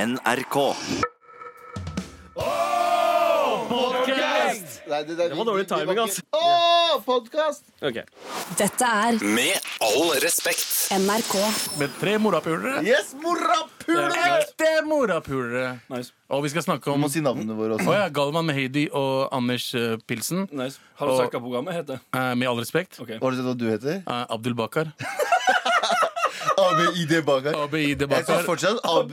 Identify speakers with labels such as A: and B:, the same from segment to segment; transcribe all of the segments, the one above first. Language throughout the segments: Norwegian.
A: NRK.
B: Nei, det, det,
C: var dårlig timing, altså.
B: Å, podkast!
C: Ok.
D: Dette er
A: Med all respekt.
D: NRK.
E: Med tre morapulere.
B: Yes, morapule!
E: Ekte morapulere.
C: Nice. Mm.
E: Og vi skal snakke
B: Du
E: om
B: må si navnene våre
E: Å
B: også.
E: ja, Galvan med Heidi og Anders eh, Pilsen.
C: nice. Har du
E: Og-
C: sagt hva programmet heter?
E: Eh, med all respekt.
C: Ok.
B: Har du sett hva du heter?
E: Eh, Abdul Bakar.
B: Abu ID Bakar.
E: ABI de
B: Jeg syns
E: Bakar.
B: fortsatt Ab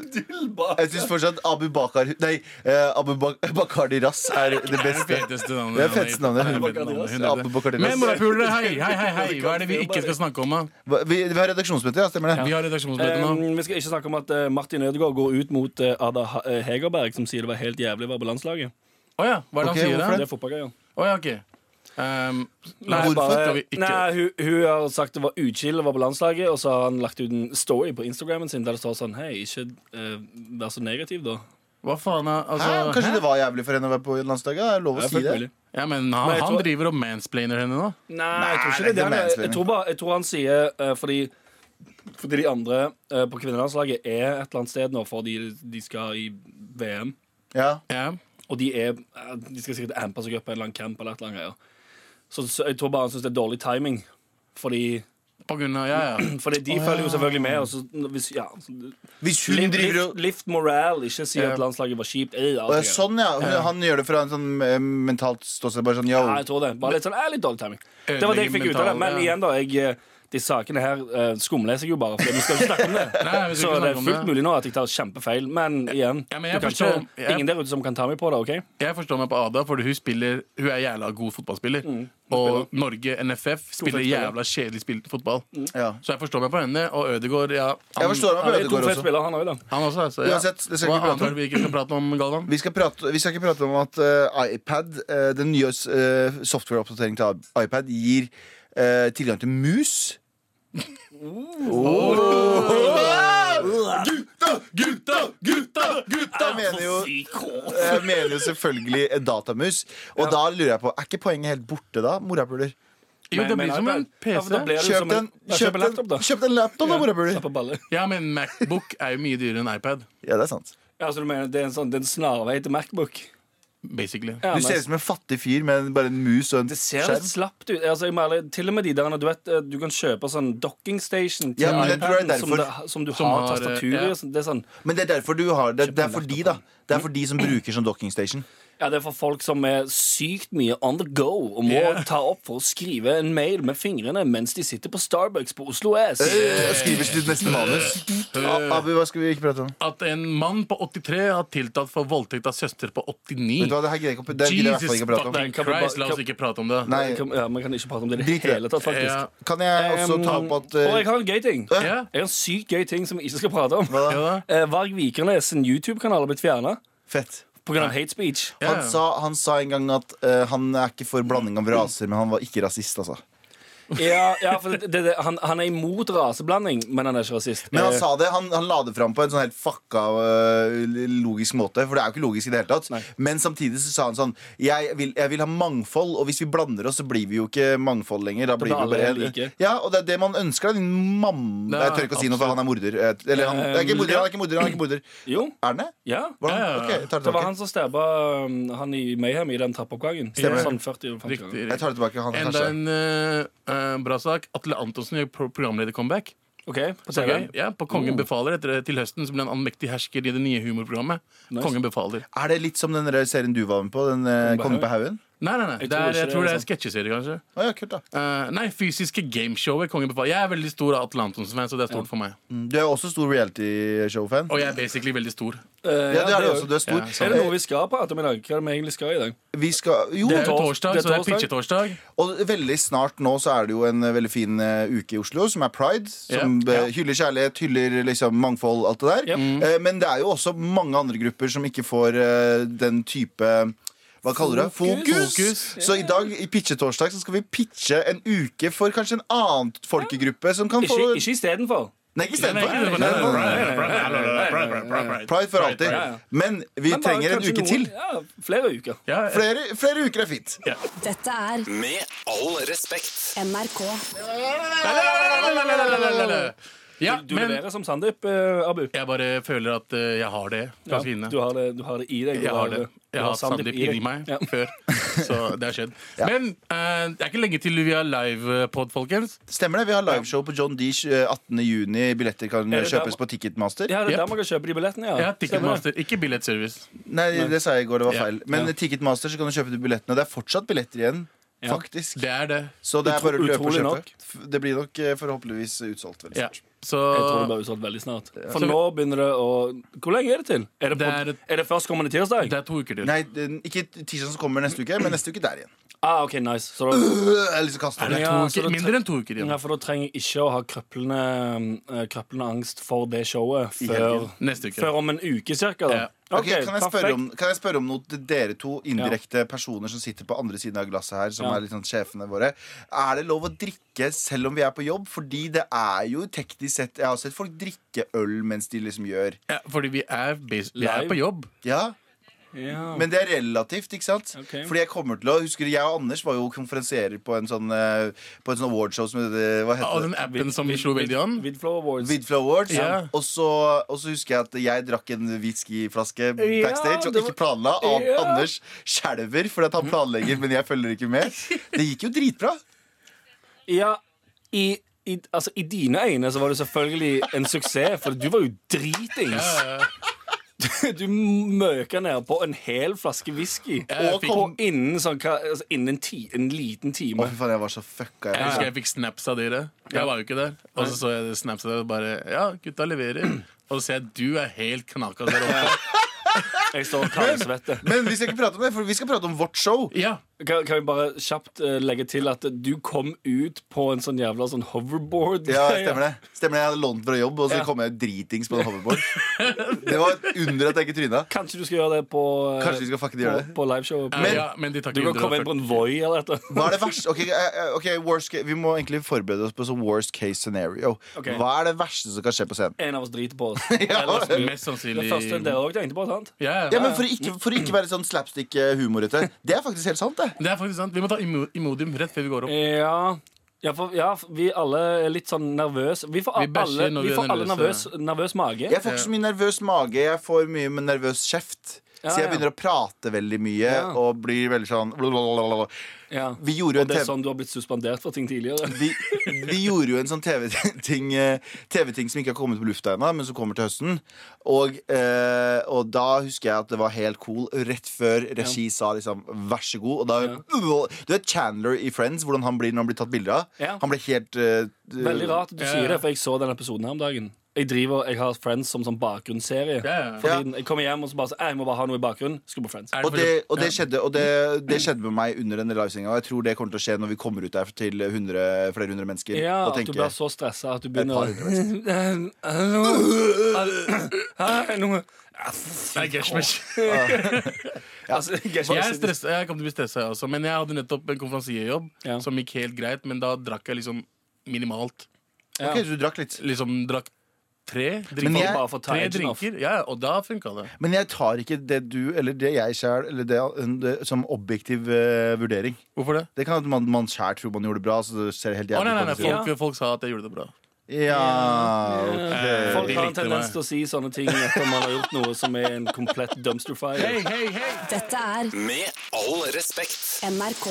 B: jeg synes fortsatt Abu Bakar Nei, eh, Abu Bak Bakardi Rass er det beste.
E: Feteste navnet.
B: Det er feteste navnet.
E: Helvete
C: Bakar
E: navnet.
B: Diaz. Abu Bakar Diaz.
E: Men morapulere, hei, hei, hei, hei. Hva er det vi ikke skal snakke om? da?
B: Hva- Vi, vi har redaksjonsmøte, ja. Stemmer det?
E: Vi har redaksjonsmøte nå.
C: Eh, vi skal ikke snakke om at eh, Martin Ødegaard går ut mot eh, Ada Ha- eh, Hegerberg, som sier det var helt jævlig å være på landslaget.
E: Å ja, hva er
B: Ok,
E: det han sier?
B: hvorfor
E: da?
C: Det er fotballgreier.
E: Å ja, ok. Um, nei,
C: Hun
E: hvorfor
C: bare-
E: skal vi ikke
C: Nei, hun, hun har sagt det var uchill å være på landslaget, og så har han lagt ut en story på Instagramen sin der det står sånn Hei, ikke eh, vær så negativ, da.
E: Hva faen er
B: Hæ?
E: altså,
B: Kanskje det var jævlig for henne å være på landslaget? Det er lov å
C: Det er
B: si
C: fullt
B: det.
C: mulig.
E: Ja, men han,
C: jeg
E: han
C: tror-
E: driver og mansplainer henne nå.
C: Nei, jeg tror ikke det.
B: det er
C: er det han-
B: mansplaining.
C: jeg, tror bare, jeg tror han sier eh, fordi, fordi de andre eh, på kvinnelandslaget er et eller annet sted nå, for de, de skal i VM.
B: Ja.
E: Ja.
C: Og de, er, eh, de skal sikkert ampe seg opp på en eller annen camp eller et eller annet greier. Så, så jeg tror bare han syns det er dårlig timing. Fordi,
E: På grunn av, ja, ja.
C: fordi de følger jo selvfølgelig med. Og så, hvis, ja, lift,
B: Hvis hun driver og
C: lift, lift morale, ikke si
E: Ja.
C: at landslaget var kjipt. Eh,
B: Å, ja,
C: alt det greier.
B: Sånn, ja. Hun, han gjør det fra en sånn eh, mentalt ståsted. Bare sånn yo.
C: Ja, jeg tror det. Bare litt sånn, eh, litt dårlig timing. Det var det jeg fikk ut av det. Men
E: Ødelegger
C: igjen, da. jeg... eh, de sakene her eh, skumleser jeg jo bare, for vi skal jo ikke snakke om det.
E: Nei, vi skal
C: så det
E: ikke snakke
C: er
E: om
C: fullt
E: det.
C: mulig nå at jeg tar kjempefeil. Men igjen,
E: Ja,
C: du kan
E: men jeg
C: ikke,
E: forstår- jeg-
C: ingen der ute som kan ta meg på det. ok?
E: Jeg forstår meg på Ada, for hun, spiller, hun er jævla god fotballspiller.
C: Mm. spiller.
E: Og Norge, NFF, spiller
C: spillere.
E: jævla kjedelig spilt fotball.
C: Mm.
B: Ja.
E: Så jeg forstår meg på henne. Og Ødegaard, ja. Han,
B: Jeg forstår meg
C: Han
B: på
C: er to
B: Ødegaard
C: fete
B: også.
C: spillere, han òg, da.
E: han også, altså. Ja.
B: Uansett, det skal
E: Hva
B: vi ikke prate
E: annet er det vi ikke skal prate om, Galvan?
B: Vi skal, prate, vi skal ikke prate om at eh, iPad, eh, den nye uh, software-oppdateringen til i- iPad, gir eh, tilgang til mus.
E: Gutta, gutta, gutta, gutta!
B: Jeg mener jo, jeg mener jo selvfølgelig en datamus. Og da lurer jeg på, er ikke poenget helt borte da, morapuler?
E: Jo, det
C: Men-
E: blir
C: men
E: som en
C: iPad. Ja, for da
E: PC.
C: blir det jo
B: Kjøp
C: som en-
B: en,
C: Ja,
B: kjøp
C: en
B: en,
C: laptop, da.
B: kjøp en laptop, da, morapuler.
C: Ja, på balle.
E: Ja, men Macbook er jo mye dyrere enn iPad.
B: Ja, det er sant.
C: Ja, så du mener det er en, sånn, det er en snarvei til Macbook?
E: Basically.
C: Ja,
B: Du
C: men-
B: ser ut som en fattig fyr med bare en mus og en
C: det ser litt
B: skjerm.
C: slapt ut. Altså, jeg mener, til og med de der, Du vet, eh, du kan kjøpe sånn docking station til
B: Ja, men det tror jeg
C: iPaden
B: er
C: som,
B: derfor.
C: det- som du
E: Som
C: har,
E: har, eh,
C: tastatur i.
E: ja.
C: og sånn. Det er sånn,
B: Men det er derfor du har det. Det er for de, da. Det er for de som bruker som docking station.
C: ja, det er for folk som er sykt mye on the go og må
E: Yeah.
C: ta opp for å skrive en mail med fingrene mens de sitter på Starbucks på Oslo S.
B: Jeg Eh, skriver sitt neste manus. Eh, A- Abu, hva skal vi ikke prate om?
E: At en mann på 83 har tiltalt for voldtekt av søster på 89.
B: Vet du hva, det her gidder jeg ikke å- det gidder jeg i hvert fall ikke å prate om.
E: fucking
C: Kan vi bare-
E: Christ, la oss
C: kan-
E: ikke prate om det.
B: Nei,
C: Jeg kan- Ja, man kan ikke prate om det i det
B: Drit i det.
C: hele tatt, faktisk.
E: Ja.
B: Kan jeg også ta opp at
C: Um, og
B: eh,
C: jeg har en gøy ting.
B: Hæ?
E: Ja.
C: Jeg har en sykt gøy ting som vi ikke skal prate om.
B: hva
E: Ja,
B: da?
E: da.
C: Eh, Varg Vikernes sin YouTube-kanal har blitt fjerna
B: Fett.
C: pga. hate speech.
E: Ja,
B: Han,
E: ja.
B: sa, han sa en gang at eh, han er ikke for blanding av raser, men han var ikke rasist, altså.
C: Ja, ja for det, det, det, han, han er imot raseblanding, men han er ikke rasist.
B: Men han
C: Eh,
B: sa det, han, han la det fram på en sånn helt fucka eh, logisk måte, for det er jo ikke logisk i det hele tatt.
C: Nei.
B: Men samtidig så sa han sånn jeg vil, jeg vil ha mangfold, og hvis vi blander oss, så blir vi jo ikke mangfold lenger. Da blir
C: blir
B: vi bare
C: alle like.
B: Ja, og det er det man ønsker. da, Din mamma
E: Ja,
B: Jeg tør ikke å si noe, for han er morder. Eh, Eller han, det er ikke morder, han er ikke morder. Han er ikke morder.
C: jo,
B: Er han det?
C: ja.
B: Var han?
E: Ja, ja, ja.
B: Ok, jeg tar det
C: Det var
B: tilbake.
C: han som stabba um, han i Mayhem i den trappeoppgangen.
E: Stemmer.
C: Sånn 40 50 ganger.
E: Riktig.
B: Jeg tar det tilbake. Han,
E: Enda
B: kanskje.
E: en eh, eh, bra sak. Atle Antonsen gjør pro programleder-comeback.
C: OK, på
E: Så
C: TV.
E: gøy. Ja, på
B: Oh.
E: Kongen befaler etter, til høsten så blir han allmektig hersker i det nye humorprogrammet. Kongen befaler.
B: Er det litt som den der serien du var med på? Den eh,
C: på
B: Kongen på haugen?
E: Nei, nei, nei.
C: Jeg
E: det
C: tror
E: er,
C: ikke
E: jeg tror
C: det
E: det
C: er
E: er sketsjeserie, kanskje.
B: Å ja, kult da
E: Eh, nei, fysiske gameshowet Kongen befaler. Jeg er veldig stor Atle Antonsen-fan, så det er stort for meg.
B: Mm, Du er jo også stor realityshow-fan.
E: Og jeg er basically veldig stor.
C: Eh,
B: Ja, det er du
C: jo-
B: også. Du er stor. Eh,
E: Ja,
C: Er det noe vi skal prate om i dag? Hva er det vi egentlig skal i dag?
B: Vi skal, jo,
E: Det er jo
C: tors-
E: torsdag,
C: det er
E: så det er
C: torsdag.
E: pitchetorsdag.
B: og veldig snart nå så er det jo en eh, veldig fin eh, uke i Oslo, som er pride. Som
E: Ja, ja.
B: eh, hyller kjærlighet, hyller liksom mangfold, alt det der.
C: Ja.
B: Eh, Men det er jo også mange andre grupper som ikke får eh, den type hva kaller du det? Fokus!
E: Fokus.
B: Så i dag i pitchetorsdag så skal vi pitche en uke for kanskje en annen folkegruppe som kan få
C: Ikke, ikke istedenfor.
B: Nei, ikke
E: Nei, nei,
B: istedenfor.
E: nei, nei, nei, nei, nei, nei, nei.
B: Pride for alltid.
C: ja, ja.
B: Men vi
C: Men bare
B: trenger en
C: kanskje
B: uke
C: noen-
B: til.
C: Ja, flere uker.
E: Ja, jeg-
B: Flere, flere uker er fint.
D: Dette er
A: Med all respekt.
D: NRK.
E: Lalalala. Ja,
C: du du
E: men-
C: leverer som Sandeep, eh, Abu.
E: Jeg bare føler at eh, jeg har det
C: Ja,
E: fra svinene.
C: du, har det, du har det i deg. Du
E: Jeg har det.
C: du
E: Jeg har Sandeep
C: deg.
E: inni meg
C: Ja.
E: før. Så det har skjedd. Men eh, det er ikke lenge til vi har livepod, folkens.
B: Stemmer det. Vi har liveshow på John Deesh 18.6. Billetter kan
C: Er det der-
B: kjøpes på Ticketmaster.
C: Ja, det er
E: Yep.
C: der man kan kjøpe de billettene, ja.
E: Jeg har
C: Stemmer det.
E: Ticketmaster, ikke billettservice.
B: Nei, det sa jeg i går. Det var
E: Ja.
B: feil. Men Ticketmaster så kan du kjøpe de billettene. Det er fortsatt billetter igjen.
C: Ja.
B: Faktisk.
E: Det er det.
B: Så det er bare å
C: Utro-
B: løpe og
C: utrolig
B: kjøpe. F- Det blir nok eh, forhåpentligvis utsolgt veldig
E: Ja.
B: snart.
E: Så
C: Jeg tror det blir utsolgt veldig snart. For
E: Så vi-
C: nå begynner det å Hvor lenge er det til? Er det, på,
E: Det
C: er
E: er-
C: det... førstkommende tirsdag?
E: det er to uker til.
B: Nei, den- ikke tirsdag som kommer neste uke, men neste uke der igjen.
C: Ah, OK, nice. Så da,
B: Øh, Jeg har lyst til å kaste
E: Det
B: meg.
E: er
C: Ja,
E: to
C: så
E: uker,
C: det tre-
E: mindre enn to uker igjen.
C: ja, for da trenger jeg ikke å ha krøplende, eh, krøplende angst for det showet før,
B: helgen.
E: Neste uke.
C: før om en uke cirka. Da.
E: Ja.
B: Ok,
C: Ok,
B: kan, jeg
C: perfekt.
B: spørre om, kan jeg spørre om noe til dere to indirekte personer som sitter på andre siden av glasset her, som
C: Ja.
B: er litt sånn sjefene våre? Er det lov å drikke selv om vi er på jobb? Fordi det er jo teknisk sett Jeg har sett folk drikke øl mens de liksom gjør
E: Ja, fordi vi er, bas- vi er
C: Live.
E: på jobb.
B: Ja,
C: Ja.
B: men det er relativt, ikke sant?
C: Ok.
B: Fordi jeg kommer til å Husker du, jeg og Anders var jo konferansierer på en sånn eh, På en sånn awardshow som heter Hva
E: Og
B: heter
E: den
B: det?
E: appen som vi slo veldig an.
C: Vidflow Awards.
B: Vidflow Awards.
E: Ja.
B: Og, så, og så husker jeg at jeg drakk en whiskyflaske
C: Ja,
B: backstage og
C: det var-
B: ikke planla. Av
C: Ja.
B: Anders skjelver fordi at han planlegger, men jeg følger ikke med. Det gikk jo dritbra.
C: Ja, i, i, altså, i dine øyne så var det selvfølgelig en suksess, for du var jo dritings. Du møka ned på en hel flaske whisky,
E: Jeg
C: og,
E: fikk-
C: og innen, sånn, hva- altså, innen en, ti, en liten
B: Å,
C: time.
B: fy faen, jeg var så fucka.
E: Jeg husker
B: Jeg.
E: jeg fikk snaps av dere. Jeg var jo ikke der. Og så så jeg snaps av dere og bare Ja, gutta leverer. Og så ser jeg du er helt knakas der oppe.
C: Jeg står og kaldsvetter.
B: Men vi skal ikke prate om det, for vi skal prate om vårt show.
E: Ja,
C: Kan, kan vi bare kjapt eh, legge til at du kom ut på en sånn jævla sånn hoverboard?
B: Ja, stemmer det. Stemmer det, Jeg hadde lånt fra jobb, og så
C: Ja.
B: kom jeg dritings på en hoverboard. Det var et under at jeg ikke tryna.
C: Kanskje du skal gjøre det på eh,
B: Kanskje vi skal fucking gjøre det.
C: På, på liveshowet.
E: men, ja, men de tar
C: du
E: ikke
C: kan komme inn på
E: 140.
C: en Voi eller et eller
B: Hva er det verste? Ok, eh, ok, worst ca- Vi må egentlig forberede oss på sånn worst case scenario.
C: Ok.
B: Hva er det verste som kan skje på scenen?
C: En av oss driter på oss. Ellers-
E: Mest sannsynlig
C: Det første dere òg tenkte på, sant?
E: ja, ja.
B: Ja, men for å ikke, for å ikke være sånn slapstick-humorete. Det er faktisk helt sant, det.
E: Det er faktisk sant. Vi må ta Imo- Imodium rett før vi går opp.
C: Ja ja, for, ja, for vi alle er litt sånn nervøse. Vi får
E: Vi bæsjer
C: alle,
E: når
C: vi
E: vi er
C: får alle nervøs,
E: nervøse.
C: nervøs mage.
B: Jeg får ikke så mye nervøs mage, jeg får mye med nervøs kjeft.
C: Ja,
B: Så jeg
C: ja.
B: begynner å prate veldig mye
C: Ja.
B: og blir veldig sånn blablabla.
C: Ja.
B: Vi gjorde jo
C: Og
B: en
C: det er
B: TV...
C: sånn du har blitt suspendert for ting tidligere.
B: Vi, vi gjorde jo en sånn TV-ting eh, TV-ting som ikke har kommet på lufta ennå, men som kommer til høsten. Og, eh, og da husker jeg at det var helt cool rett før regi sa liksom 'vær så god'. Og da Du vet Chandler i Friends, hvordan han blir når han blir tatt bilde av?
C: Ja.
B: Han blir helt eh,
C: Veldig rart at du
E: Ja, ja.
C: sier det, for jeg så den episoden her om dagen. Jeg driver, jeg har Friends som sånn bakgrunnsserie.
E: Ja, ja.
C: Fordi
B: Ja.
C: jeg kommer hjem og så bare så, «Ei, jeg må bare ha noe i bakgrunnen. Skru på Friends.
E: Er
B: Og
E: for-
B: det, og det skjedde, og det, det skjedde med meg under denne livesendinga. Og jeg tror det kommer til å skje når vi kommer ut der til 100, flere hundre mennesker.
C: Ja,
B: og
C: At du
B: tenker,
C: blir så stressa at du
B: et
C: begynner
B: par hundre mennesker.
C: å
E: Nei, Gershmish.
C: Altså,
E: Jeg, er
C: Gershmish-
E: stressa- jeg kom til å bli stressa, jeg også. Men jeg hadde nettopp en konferansierjobb
C: Ja.
E: som gikk helt greit, men da drakk jeg liksom minimalt.
C: Ja.
B: Ok, så du drakk litt.
E: Liksom drakk tre
B: Men
E: drinker.
B: jeg-
C: Bare for å ta
E: tre
C: edgen off.
E: drinker ja, og da funka det.
B: Men jeg tar ikke det du, eller det jeg sjæl, eller det, det som objektiv eh, vurdering.
E: Hvorfor det?
B: Det kan at man, man sjæl tror man gjorde det bra, så det ser helt
E: Å,
B: jævlig
E: nei, nei, nei,
B: ut.
E: folk, folk sa at jeg gjorde det bra.
B: Ja, ok.
C: Folk
E: de
C: har en
E: likte
C: tendens
E: meg.
C: til å si sånne ting etter man har gjort noe som er en komplett dumpster fire.
D: Dette er
A: Med all respekt.
D: NRK.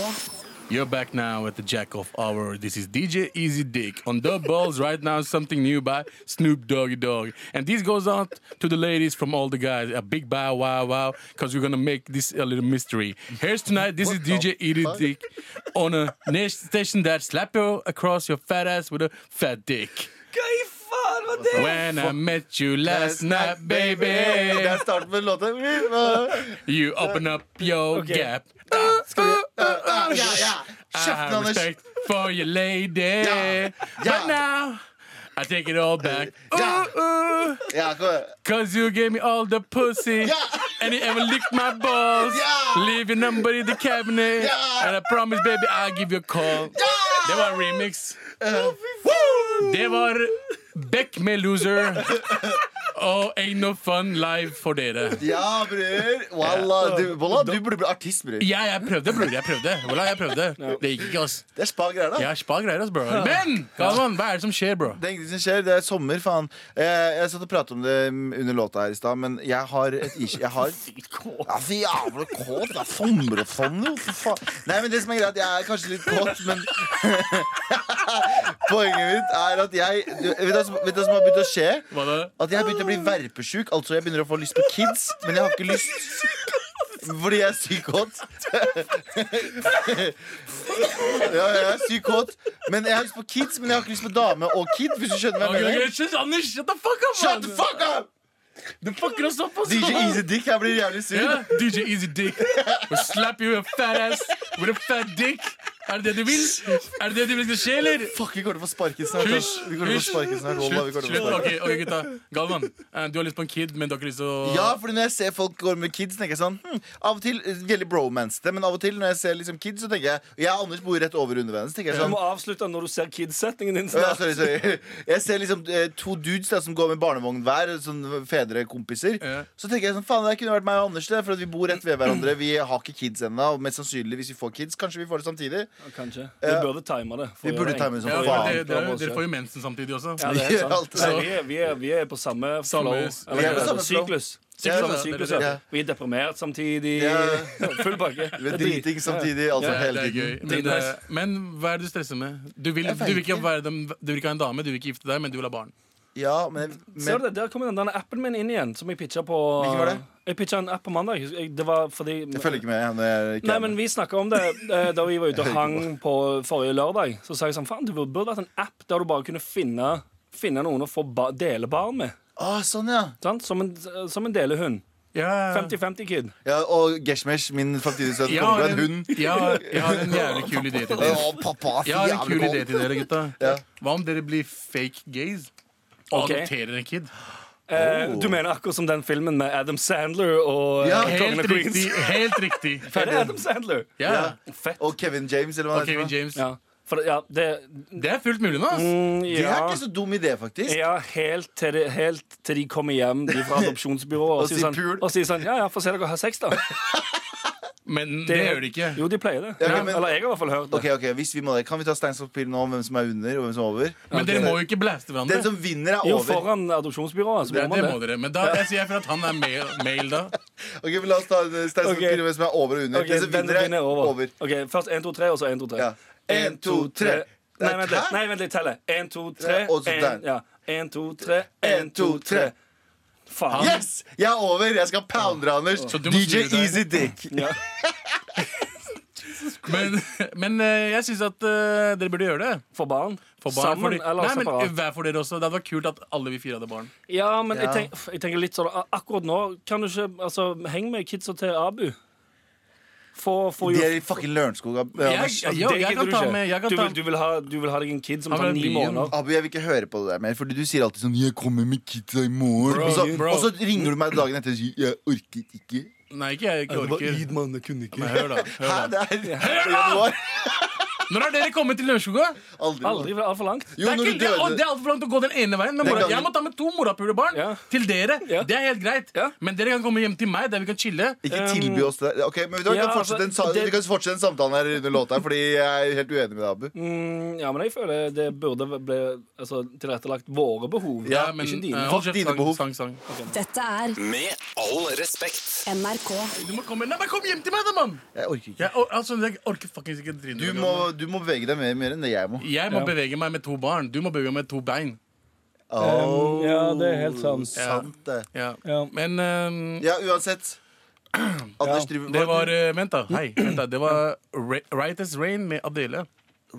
E: You're back now at the Jack Off Hour. This is DJ Easy Dick on the balls right now. Something new by Snoop Doggy Dogg. And this goes out to the ladies from all the guys. A big bow wow wow, because we're gonna make this a little mystery. Here's tonight. This is DJ Easy Dick on a niche station that slap you across your fat ass with a fat dick. When I met you last night,
B: Eh, Det
E: baby,
B: er starten på en låt.
E: you open up your
C: Okay.
E: gap.
B: Kjeften,
E: I have
B: Anders.
E: respect for your lady.
B: Ja. Ja.
E: But now I take it all back.
B: Ja.
E: Ooh, ooh,
B: Ja, kom igjen.
E: Cause you gave me all the pussy.
B: Ja.
E: And you ever licked my balls.
B: Ja.
E: Leave your number in the cabinet.
B: Ja.
E: And I promise, baby, I'll give you a call. Det var remix. Det var Beck med Loser. Oh, ain't no fun live for dere.
B: Ja, bror! Wallah, du, wallah, du burde bli artist, bror.
E: Ja, jeg prøvde, bror. Jeg prøvde. Wallah, jeg prøvde. Det gikk ikke, ass.
B: Det er spa greier, da.
E: Jeg har spa greier, ass, bro. Men Galvan, hva er det som skjer, bro?
B: Det er ingenting som skjer. Det er sommer, faen. Eh, jeg satt og pratet om det mm, under låta her i stad, men jeg har et ish- Jeg har Ja, så jævla kåt. Det er sommerfond, jo. for faen. Nei, men det som er greit, jeg er kanskje litt kåt, men Poenget mitt er at jeg du, Vet du hva som- vet du hva som har begynt å skje?
E: Hva da?
B: At jeg har begynt å bli verpesjuk. Altså, jeg begynner å få lyst på kids, men jeg har ikke lyst fordi jeg er sykt kåt. ja, jeg er sykt kåt. Men jeg har lyst på kids, men jeg har ikke lyst på dame og kid. Hvis du skjønner hva
E: Okay,
B: jeg
E: okay,
B: mener.
E: shut, Anders, shut the fuck up,
B: eh? Shut the
E: man.
B: fuck up!
E: Du fucker oss opp, ass.
B: DJ Easy liksom. Dick, jeg blir jævlig sur.
E: Ja, DJ Easy Dick. We'll slap you with a fat ass with a fat dick. Er det det du vil? Er det det du vil skal skje, eller?
B: Fuck, vi kommer til å få sparken snart. ass.
E: Hysj,
B: Vi kommer til å få
E: hysj.
B: sparken snart. Wallah, vi
E: Slutt,
B: kommer til å
E: slutt.
B: få sparken.
E: Ok, ok, gutta. Galvan, eh, du har lyst på en kid, men du har ikke lyst til å
B: Ja, fordi når jeg ser folk går med kids, tenker jeg sånn hm, Av og til eh, veldig bromance det, men av og til når jeg ser liksom kids, så tenker jeg Og jeg og Anders bor rett over underveien, så tenker jeg
C: Du
B: sånn
C: må avslutte når du ser kids-setningen din.
B: Ja,
C: snart.
B: sorry, sorry. Jeg ser liksom eh, to dudes da, som går med barnevogn hver, sånn fedrekompiser.
E: Ja.
B: Så tenker jeg sånn, faen, det kunne vært meg og Anders, det, for at vi bor rett ved hverandre. Vi har ikke kids ennå, og mest sannsynlig hvis vi får kids, kanskje vi får det samtidig.
C: Kanskje. Vi burde time det. for
B: sånn, Vi
C: å
B: burde
C: gjøre
B: time det som
E: Ja,
C: for å
E: for
B: faen.
C: gjøre
E: dere, dere,
C: enklere
E: dere
C: for
E: får
C: oss.
E: jo mensen samtidig også.
C: Ja, det er sant.
B: Alt det der.
C: Nei, vi, er, vi, er, vi er på samme flow.
E: Samme-
C: Eller,
B: Vi er på
C: altså,
B: samme flow.
C: syklus.
B: Ja,
C: Syklus,
B: ja,
C: syklus
E: det er
B: det.
C: ja. Vi er deprimert samtidig.
B: Ja.
C: Full pakke.
B: Vi er
C: Det blir-
B: driting samtidig, altså
C: Ja,
E: Det
B: hele
E: er gøy.
B: tiden.
E: Men,
C: Dritnice.
E: eh, men hva er det du stresser med? Du vil,
B: Jeg
E: du
B: vet
E: vil, ikke,
B: ikke.
E: være dem, du vil ikke ha en dame, du vil ikke gifte deg, men du vil ha barn.
B: Ja, men,
C: Ser du
B: men
C: det? Der kommer den denne appen min inn igjen, som jeg pitcha på
B: Hvilken var det?
C: Jeg pitcha en app på mandag. Jeg- Det var fordi
B: jeg følger ikke med. jeg, når jeg ikke
C: Nei,
B: er med.
C: men Vi snakka om det eh, da vi var ute og hang på forrige lørdag. Så sa jeg sånn, faen, det burde vært en app der du bare kunne finne, finne noen å få ba dele barn med.
B: Å, sånn, ja.
C: Sant? Som, en, som en delehund.
E: Ja,
C: 50-50-kid.
B: ja. Og Geshmesh, min framtidige sønn,
E: jeg
B: kommer fra
E: har
B: en
E: en,
B: hund.
E: jeg har- jeg har en jævlig kul idé til dere.
B: Å, pappa, så
E: Jeg har en
B: jævlig
E: kul idé
B: kåt.
E: til dere, gutta.
B: Ja.
E: Hva om dere blir fake gays og
C: Ok.
E: adopterer en kid?
C: Eh, du mener akkurat som den filmen med Adam Sandler og
B: Ja,
C: ja, Kongen
E: Helt
C: av
E: riktig.
C: Queens.
E: helt riktig
C: Er det Adam Sandler?
E: ja.
C: Fett.
B: Og Kevin James, eller hva
E: Og Kevin
B: heter.
E: James.
C: Ja, for, ja det
E: Det er fullt mulig nå. ass.
C: mm,
B: Det er
C: ja.
B: ikke så dum idé, faktisk.
C: Ja, helt til, de, helt til de kommer hjem de fra adopsjonsbyrået og,
B: Og
C: sier
B: sier
C: sånn,
B: pul.
C: og sier sånn Ja, ja, få se dere ha sex, da.
E: Men det gjør de ikke.
C: Jo, de pleier det.
B: Ja, ok, men-
C: Eller jeg har i hvert fall hørt det.
B: Ok, ok, hvis vi må det Kan vi ta stein, saks, papir nå om hvem som er under og hvem som er over?
E: Men dere må jo ikke blaste hverandre.
B: Den som vinner, er
C: Jo,
B: over.
C: foran adopsjonsbyrået. Så
E: Ja,
C: må
E: det må
C: man det.
E: dere. Men da jeg sier jeg for at han er male, male da.
B: Ok, men La oss ta en stein, saks,
C: Ok.
B: papir om hvem som er over og under.
C: Ok,
B: den som vinner, er over.
C: Ok, Først 1, 2, 3, og så 1, 2, 3.
B: Ja. En, to, tre.
C: Nei,
B: Nei,
C: vent
B: hæ?
C: litt. Nei, vent litt, telle. 1, 2, 3.
B: Ja, og så der.
C: Ja. 1, 2, 3. 1, 2, 3. Faen.
B: Yes! Jeg er over! Jeg skal pounder, Anders.
E: Så du må
B: DJ
E: snu deg.
B: Easy Dick.
C: Ja.
E: Men, men eh, jeg syns at eh, dere burde gjøre det.
C: For barn?
E: For barn,
C: Sammen
E: fordi-
C: eller
E: Nei, men
C: separat?
E: Hver for dere også. Det hadde vært kult at alle vi fire hadde barn.
C: Ja, men
B: Ja.
C: Jeg, tenk, jeg tenker litt sånn ak- Akkurat nå kan du ikke altså, Heng med kidsa til Abu. Få, få
B: De
C: jo
B: er i fucking Lørenskog. Ab-
E: Jeg,
B: Anders.
E: jeg,
C: Det
E: jeg
C: gidder
E: kan
C: du
E: ta
C: ikke.
E: med jeg kan
C: du,
E: ta,
C: vil, du, vil ha, du vil ha deg en kid som
E: Han vil
C: tar
E: bli
C: ni
E: en-
C: måneder?
B: Abu, jeg vil ikke høre på det der mer, fordi du sier alltid sånn 'Jeg kommer med kidsa i morgen',
E: Bro,
B: og, så,
E: bro.
B: og så ringer du meg dagen etter og sier 'Jeg orket ikke'.
E: Nei, ikke jeg. Ikke orker.
C: mann. Jeg kunne ikke.
E: Men hør, da.
B: Hæ,
E: Hør da.
B: det er det er januar.
E: Når har dere kommet til Lørenskoga?
B: Aldri.
C: Aldri for altfor langt.
B: Jo,
E: det er,
B: når
E: ikke,
B: du
E: det, er- og det
B: døde.
E: er altfor langt å gå den ene veien. Med
B: Den
E: mora.
B: gangen-
E: Jeg må ta med to morapulebarn
C: Ja.
E: til dere.
C: Ja.
E: Det er helt greit.
C: Ja.
E: Men dere kan komme hjem til meg, der vi kan chille.
B: Ikke tilby oss det. Ok, men Vi kan,
C: ja, altså,
B: fortsette, en sa
C: det-
B: vi kan fortsette den samtalen her under låta, Fordi jeg er helt uenig med deg, Abu.
C: Mm, ja, men jeg føler det burde bli altså, tilrettelagt våre behov.
E: Ja, men,
C: ikke dine.
E: eh,
B: Fuck
E: kjeft,
B: dine
E: sang,
B: behov.
E: Sang, sang.
D: Dette er
A: Med all respekt.
D: NRK.
E: Du må komme, nei, men kom hjem til meg, da, mann!
B: Jeg orker ikke.
E: Jeg, or- altså, jeg orker fuckings ikke trynet.
B: Du må, du må bevege deg mer, mer enn det jeg må.
E: Jeg må bevege meg med to barn. Du må bevege meg med to bein.
B: Åh,
C: Ja, det er helt sant.
B: sant det.
E: Ja.
C: Ja.
E: Men eh,
B: Ja, uansett. Anders
C: Ja,
B: driver
E: det var eh, Vent, da. Hei. Vent da. Det var Ra Right As Rain med Adele.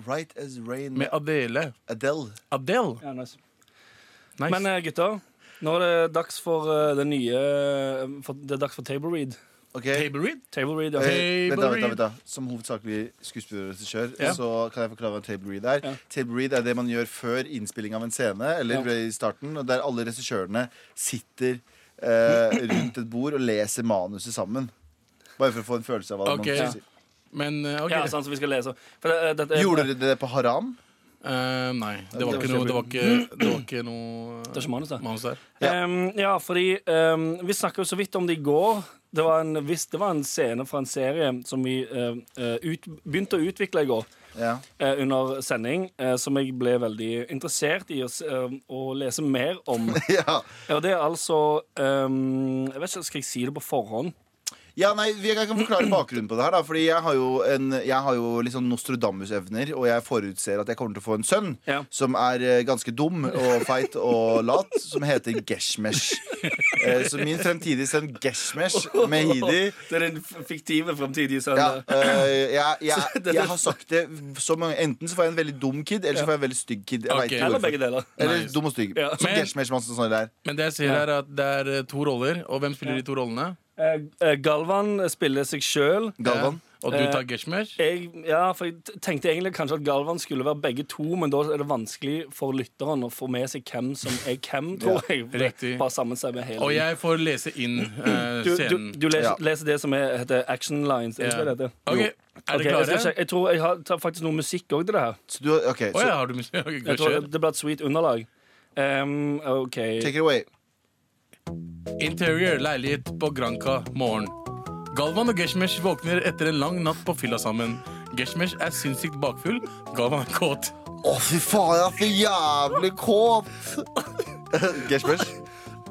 B: Right as rain
E: Med
B: med
E: Adele.
B: Adele.
E: Adele.
C: Ja, nice.
E: Nice.
C: Men eh, gutter, nå er det dags for eh, det nye eh, for, Det er dags for table read.
B: Ok
E: Table read?
C: Table read, ja.
B: Eh, Vent da, vent da,
E: read.
B: vent da Som hovedsakelig skuespiller og regissør
E: Ja.
B: Så kan jeg forklare hva table read er. Table read er det man gjør før innspilling av en scene, eller i starten, og der alle regissørene sitter eh, rundt et bord og leser manuset sammen. Bare for å få en følelse av hva
E: Ok.
B: man skal si.
E: Men eh, OK.
C: altså, Ja, sånn som vi skal lese. For, det, eh, dette er-
B: Gjorde dere det på Haram?
E: Eh, nei, det var
C: Det
E: ikke
C: var
E: noe Det var ikke, det var ikke noe eh,
C: Det er ikke manus, det.
E: manus der.
B: Ja.
C: Ehm, ja, fordi ehm, Vi snakka jo så vidt om det i går. Det var en, visst, det var en scene fra en serie som vi ehm, eh, ut, begynte å utvikle i går
B: Ja.
C: eh, under sending, eh, som jeg ble veldig interessert i å, s- ehm, å lese mer om.
B: Ja.
C: Ja, det er altså ehm, Jeg vet ikke, Skal jeg si det på forhånd?
B: ja, nei, Jeg kan forklare bakgrunnen på det her. Da, fordi jeg har jo, en, jeg har jo litt sånn Nostradamus-evner, og jeg forutser at jeg kommer til å få en sønn
C: Ja.
B: som er eh, ganske dum og feit og lat, som heter Geshmesh. Eh, så min fremtidige sønn Geshmesh Mehidi
C: Det er den f- fiktive fremtidige
B: ja,
C: sønnen.
B: øh, jeg, jeg,
C: Så det er
B: jeg
C: det-
B: har sagt det så mange Enten så får jeg en veldig dum kid, eller så får jeg en veldig stygg kid. Jeg
E: Ok.
B: vet ikke
C: Eller
B: hvorfor.
C: begge deler.
B: Eller
E: Nice.
B: dum og stygg.
C: Ja.
B: Som
E: Men-
B: Gershmer Schmansen sånn der.
E: Men det jeg ser her, er at det er eh, to roller. Og hvem spiller de to rollene?
C: Eh, eh, Galvan spiller seg sjøl.
B: Galvan.
E: Ja. Og du
C: Eh,
E: tar Geshmer?
C: Jeg, ja, for jeg t- tenkte egentlig kanskje at Galvan skulle være begge to, men da er det vanskelig for lytteren å få med seg hvem som er hvem, tror jeg. For det
E: riktig.
C: Bare sammensauer hele
E: Og
C: tiden.
E: jeg får lese inn eh,
C: Du,
E: scenen.
C: du, du leser,
B: Ja.
C: leser det som er, heter action lines. Er det ikke det det heter?
E: Ok,
B: Jo.
E: Er
C: Ok,
E: dere
C: Jeg,
E: klare?
C: skal sjekke- jeg tror jeg har tar faktisk noe musikk òg til det her.
B: Så du, ok,
E: Å
B: så
E: ja, har du musikk? Ok,
C: Jeg tror
E: kjør.
C: det blir et sweet underlag. Ehm, OK.
B: take it away.
E: Interior, leilighet på Granca, morgen. Galvan og Geshmesh våkner etter en lang natt på fylla sammen. Geshmesh er sinnssykt bakfull, Galvan er kåt.
B: Å, fy faen, jeg er så jævlig kåt! Gershmer.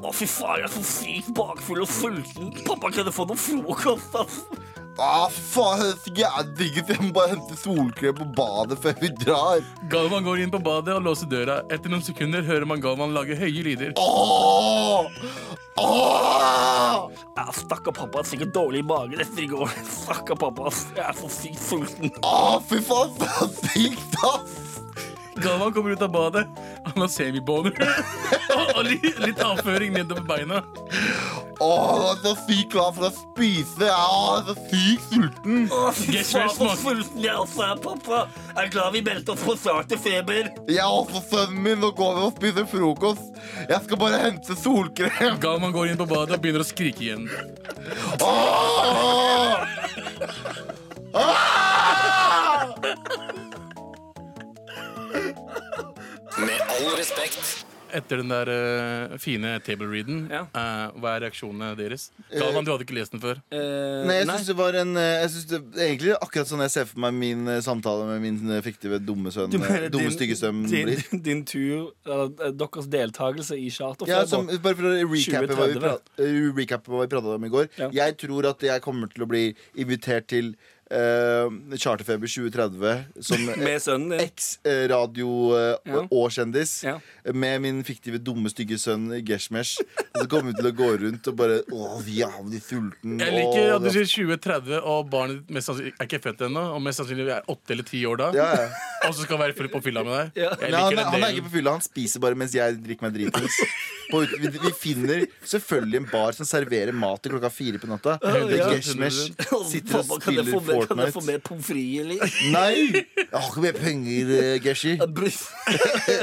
C: Å, fy faen, jeg er så sykt bakfull og sulten. Pappa, kan jeg få noe frokost?
B: Å, faen, jeg er så jævlig digget. Jeg må bare hente solkrem på badet før vi drar.
E: Galvan går inn på badet og låser døra. Etter noen sekunder hører man Galvan lage høye lyder.
B: Åh! Åh!
C: Ja, Stakkar pappa er sikkert dårlig i magen etter i går. Stakkar pappa, ass. jeg er så sykt sulten.
B: Åh, fy faen, så sykt, ass!
E: Galvan kommer ut av badet. Han har semiboner og, og litt, litt avføring nedover beina.
B: Åh, jeg er så sykt klar for å spise. Åh, jeg er så sykt sulten.
C: Å, fy
E: Yes,
C: faen,
E: yes,
C: så
E: man.
C: sulten jeg også er, pappa. Jeg er glad vi meldte oss på Start til feber.
B: Jeg er også sønnen min. Nå går vi og spiser frokost. Jeg skal bare hente solkrem.
E: Galvan går inn på badet og begynner å skrike igjen.
B: Åh! Åh!
A: Med all respekt.
E: Etter den der eh, fine table-readen,
C: Ja.
E: eh, hva er reaksjonene deres? Galvan, du hadde ikke lest den før.
B: Nei, jeg syns det var en eh, jeg synes det, Egentlig er det akkurat sånn jeg ser for meg min eh, samtale med min eh, fiktive dumme sønn. eh, Dumme stygge sønn
C: din,
B: blir.
C: din tur, eller eh, deres deltakelse i charterfeber.
B: Ja, som, bare for å recappe hva vi
C: 20-30,
B: prat- eh, recappe hva vi prata om i går.
C: Ja.
B: Jeg tror at jeg kommer til å bli invitert til eh, Charterfeber 2030 som
C: Med sønnen din.
B: eks-radio
C: Ja.
B: og kjendis.
C: Ja.
B: Med min fiktive dumme stygge sønn Geshmesh. Så kommer vi til å gå rundt og bare Å, jævlig sulten.
E: Jeg liker
B: Åh,
E: at du sier 2030, og barnet ditt mest sannsynlig er ikke født ennå. Og mest sannsynlig er åtte eller ti år da.
B: ja, ja.
E: Og så skal være full på fylla med deg.
C: Ja.
E: Jeg
B: Nei, han,
E: liker
B: er- han er
E: den
B: ikke
E: delen.
B: på fylla, han spiser bare mens jeg drikker meg dritings. På ut- Vi, vi finner selvfølgelig en bar som serverer mat til klokka fire på natta. Det
E: ja.
B: er Geshmesh sitter og
C: Pappa, kan jeg
B: spiller
C: få med- Kan jeg få
B: Fortnite.
C: med pommes frites, eller?
B: Nei! Jeg har ikke mer penger, eh, Geshi.
C: Brus.
B: Ja.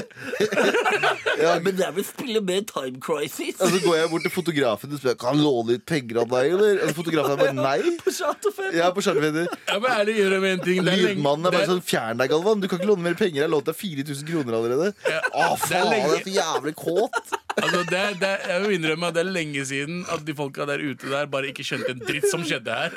B: Altså,
C: Men jeg vil spille med Time Crisis.
B: Og så går jeg bort til fotografen og spør kan han låne litt penger av deg. Eller? Og så fotografen er bare nei.
C: På charterfeber.
B: Jeg er på charterfeber.
E: Ja, men ærlig, gjør det med en ting. Det er lenge,
B: Lydmannen er
E: det
B: bare
E: er,
B: sånn Fjern deg, Galvan. Du kan ikke låne mer penger. Jeg har lånt deg 4000 kroner allerede. Å, faen, jeg er så jævlig kåt.
E: altså, det er, det er, jeg vil innrømme at det er lenge siden at de folka der ute der bare ikke skjønte en dritt som skjedde her.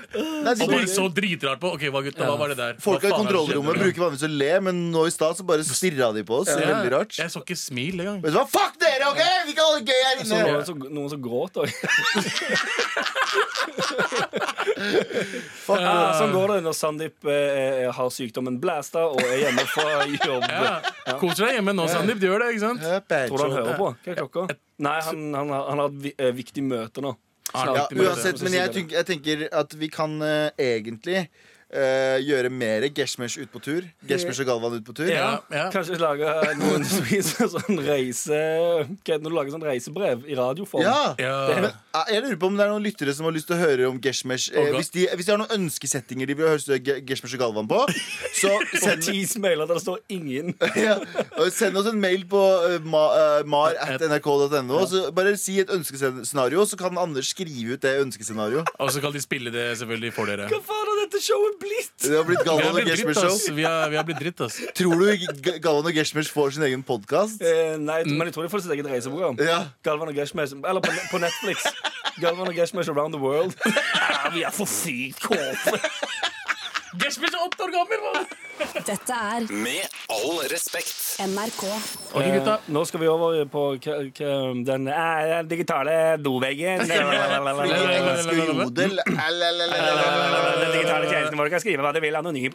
B: Nei, de
E: Og
B: bare-
E: ble så dritrart på. Ok, hva gutta, hva var det der?
B: Folka i
E: Hva faen er det som
B: kontrollrommet
E: skjedde?
B: bruker vanligvis å le, men nå i stad så bare stirra de på oss. Det er
E: Ja,
B: Veldig rart.
E: Jeg så ikke smil engang.
B: Vet du hva? Fuck dere, OK? Vi kan ha det gøy her
C: Så
B: inne.
C: noen, som, noen som gråt òg.
B: Fuck
C: Ja, sånn går det når Sandeep eh, har sykdommen blæsta og er hjemme fra jobb.
E: Ja. Koser deg hjemme nå, Sandeep. Du gjør det, ikke sant?
B: dere.
C: Tror du han hører på? Hva er klokka? Nei, han, han, har- han har et vi- eh, viktig møte nå. Snart
B: Ja,
C: Ah, viktig møte.
B: uansett, men jeg, tenk, jeg tenker at vi kan eh, egentlig eh, gjøre mer Geshmesh ut på tur. Geshmesh og Galvan ut på tur.
C: ja,
E: ja.
C: Kanskje lage noen som viser sånn reise... Hva er det når du lager sånn reisebrev i radioform?
B: Ja.
E: Ja.
B: Eh, Jeg lurer på om det er noen lyttere som har lyst til å høre om Geshmesh. Eh,
E: Å, God.
B: hvis, de, hvis de har noen ønskesettinger de vil høre Ge- Geshmesh og Galvan på, så
C: Og
B: send,
C: ti smailer der det står 'ingen'.
B: ja. og send oss en mail på eh, ma, eh, mar at nrk.no. Så Bare si et ønskescenario, så kan Anders skrive ut det ønskescenarioet.
E: Og så kan de spille det selvfølgelig for dere.
C: Hva faen er det dette showet blitt?
B: Det har blitt
E: Vi har
B: Galvan og
E: blitt dritt,
B: Geshmers
E: ass.
B: show.
E: Vi har, vi har blitt dritt, ass.
B: Tror du G- Galvan og Geshmers får sin egen podkast?
C: Eh, nei, men jeg tror de får sitt eget reiseprogram.
B: Ja.
C: Galvan og Geshmesh Eller på, på Netflix. Galvan og Geshmesh Around the World. Ja, vi er for sykt kåte.
E: Geshmers er åtte år gammel! mann.
D: Dette er
A: Med all respekt.
D: NRK.
E: Ok, gutta.
C: Nå skal vi over på k k den eh, digitale doveggen. Den
B: Engelsk og jodel. Alalalala.
C: digitale tjenesten vår kan skrive hva de vil anonymt.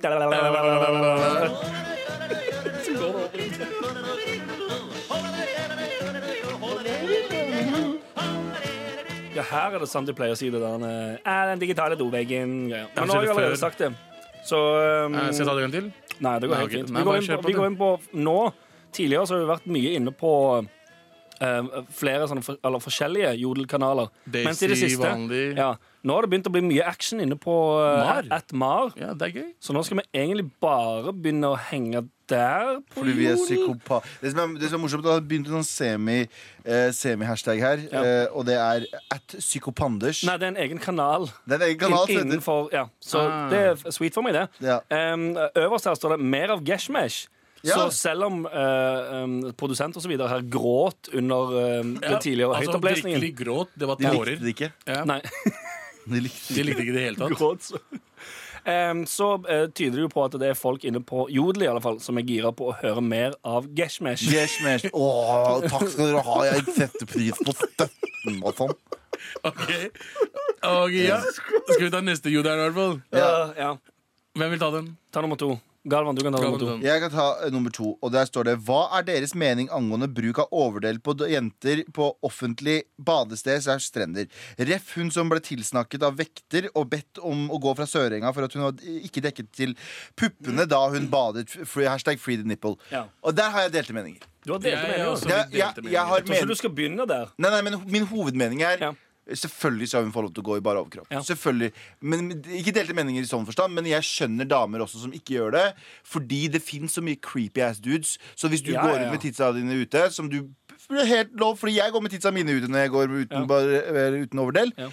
C: Ja, her er det sant de pleier å si det der eh, eh, Den digitale doveggen. Ja. Men nå har jeg allerede sagt det. Så um,
E: Eh, Skal jeg ta det en gang til?
C: Nei, det går
E: Nei,
C: helt
E: ok.
C: fint.
E: Nei,
C: Vi går,
E: bare
C: inn
E: kjør
C: på,
E: på
C: vi
E: det.
C: går inn på nå. Tidligere så har vi vært mye inne på eh, flere sånne for, eller forskjellige jodelkanaler.
E: Daisy, vanlig.
C: ja, Nå har det begynt å bli mye action inne på eh,
E: Mar.
C: at Mar.
E: Ja, det er gøy.
C: Så nå skal vi egentlig bare begynne å henge der. På
B: Fordi vi er
C: jodel.
B: psykopat Det som er, det som er morsomt, er at det har begynt en sånn semi, eh, semi-hashtag her,
C: Ja.
B: eh, og det er at psykopanders.
C: Nei, det er en egen kanal.
B: Det er en egen kanal.
C: inn-
B: som heter-
C: innenfor, ja. Så
E: Ah.
C: det er sweet for meg, det.
B: Ja.
C: Em, øverst her står det 'mer av Geshmesh'.
B: Ja.
C: Så selv om eh, em, produsent og så videre her gråt under eh, den tidligere høytopplesningen
E: altså Virkelig gråt. Det var
B: De likte
E: tårer.
B: det ikke.
E: Ja.
C: Nei,
B: De likte det
E: De likte ikke det i det hele tatt.
C: gråt så Em, Så eh, tyder det jo på at det er folk inne på Jodel i alle fall som er gira på å høre mer av Geshmesh.
B: ikke. Smash. Åh, takk skal dere ha. Jeg setter pris på støtten og sånn.
E: Ok, Ok, ja. Skal vi ta neste jodel, i hvert fall?
C: Ja, ja.
E: Hvem vil ta den?
C: Ta nummer to. Galvan, du kan ta nummer to.
E: Galvan.
B: Jeg kan ta eh, nummer to, og der står det Hva er deres mening angående bruk av overdel på d- jenter på offentlig badested slash strender? Ref hun som ble tilsnakket av vekter og bedt om å gå fra Sørenga for at hun hadde eh, ikke dekket til puppene da hun badet. F- Free, hashtag free the nipple.
C: Ja.
B: Og der har jeg delte meninger.
C: Du har delte
E: Jeg er
C: meninger.
E: også-
C: Jeg
B: Jeg,
E: vi delte
B: jeg, jeg har
C: tror ikke
B: men...
C: du skal begynne der.
B: Nei, nei, men ho- min hovedmening er
C: Ja.
B: Selvfølgelig skal hun få lov til å gå i bare overkropp.
C: Ja.
B: Selvfølgelig men, Ikke delte meninger i sånn forstand, men jeg skjønner damer også som ikke gjør det. Fordi det fins så mye creepy ass dudes. Så hvis du
C: Ja,
B: går
C: ja, ja.
B: ut med titsa dine ute, som du det er helt lov, fordi jeg går med titsa mine ute når jeg går uten,
C: Ja.
B: bare, eller uten overdel,
C: Ja.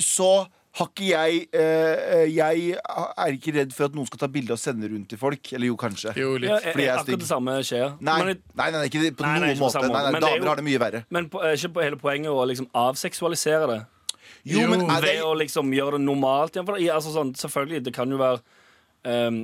B: så har ikke jeg eh, Jeg er ikke redd for at noen skal ta bilde og sende rundt til folk. Eller jo, kanskje.
E: Jo,
C: Ja,
E: litt.
C: eh,
B: Fordi jeg er stygg.
C: akkurat det samme skjer.
B: Nei,
C: Men,
B: nei, nei, ikke på
C: Nei,
B: noen
C: nei, ikke på
B: måte.
C: samme måte.
B: Nei, nei,
C: Men det er
B: damer
C: jo-
B: har det mye verre.
C: men på, er ikke på hele poenget å liksom avseksualisere det.
B: Jo,
E: Jo,
B: men er det,
C: Ved å liksom gjøre det normalt. igjen. For det- altså sånn, selvfølgelig, det kan jo være ehm,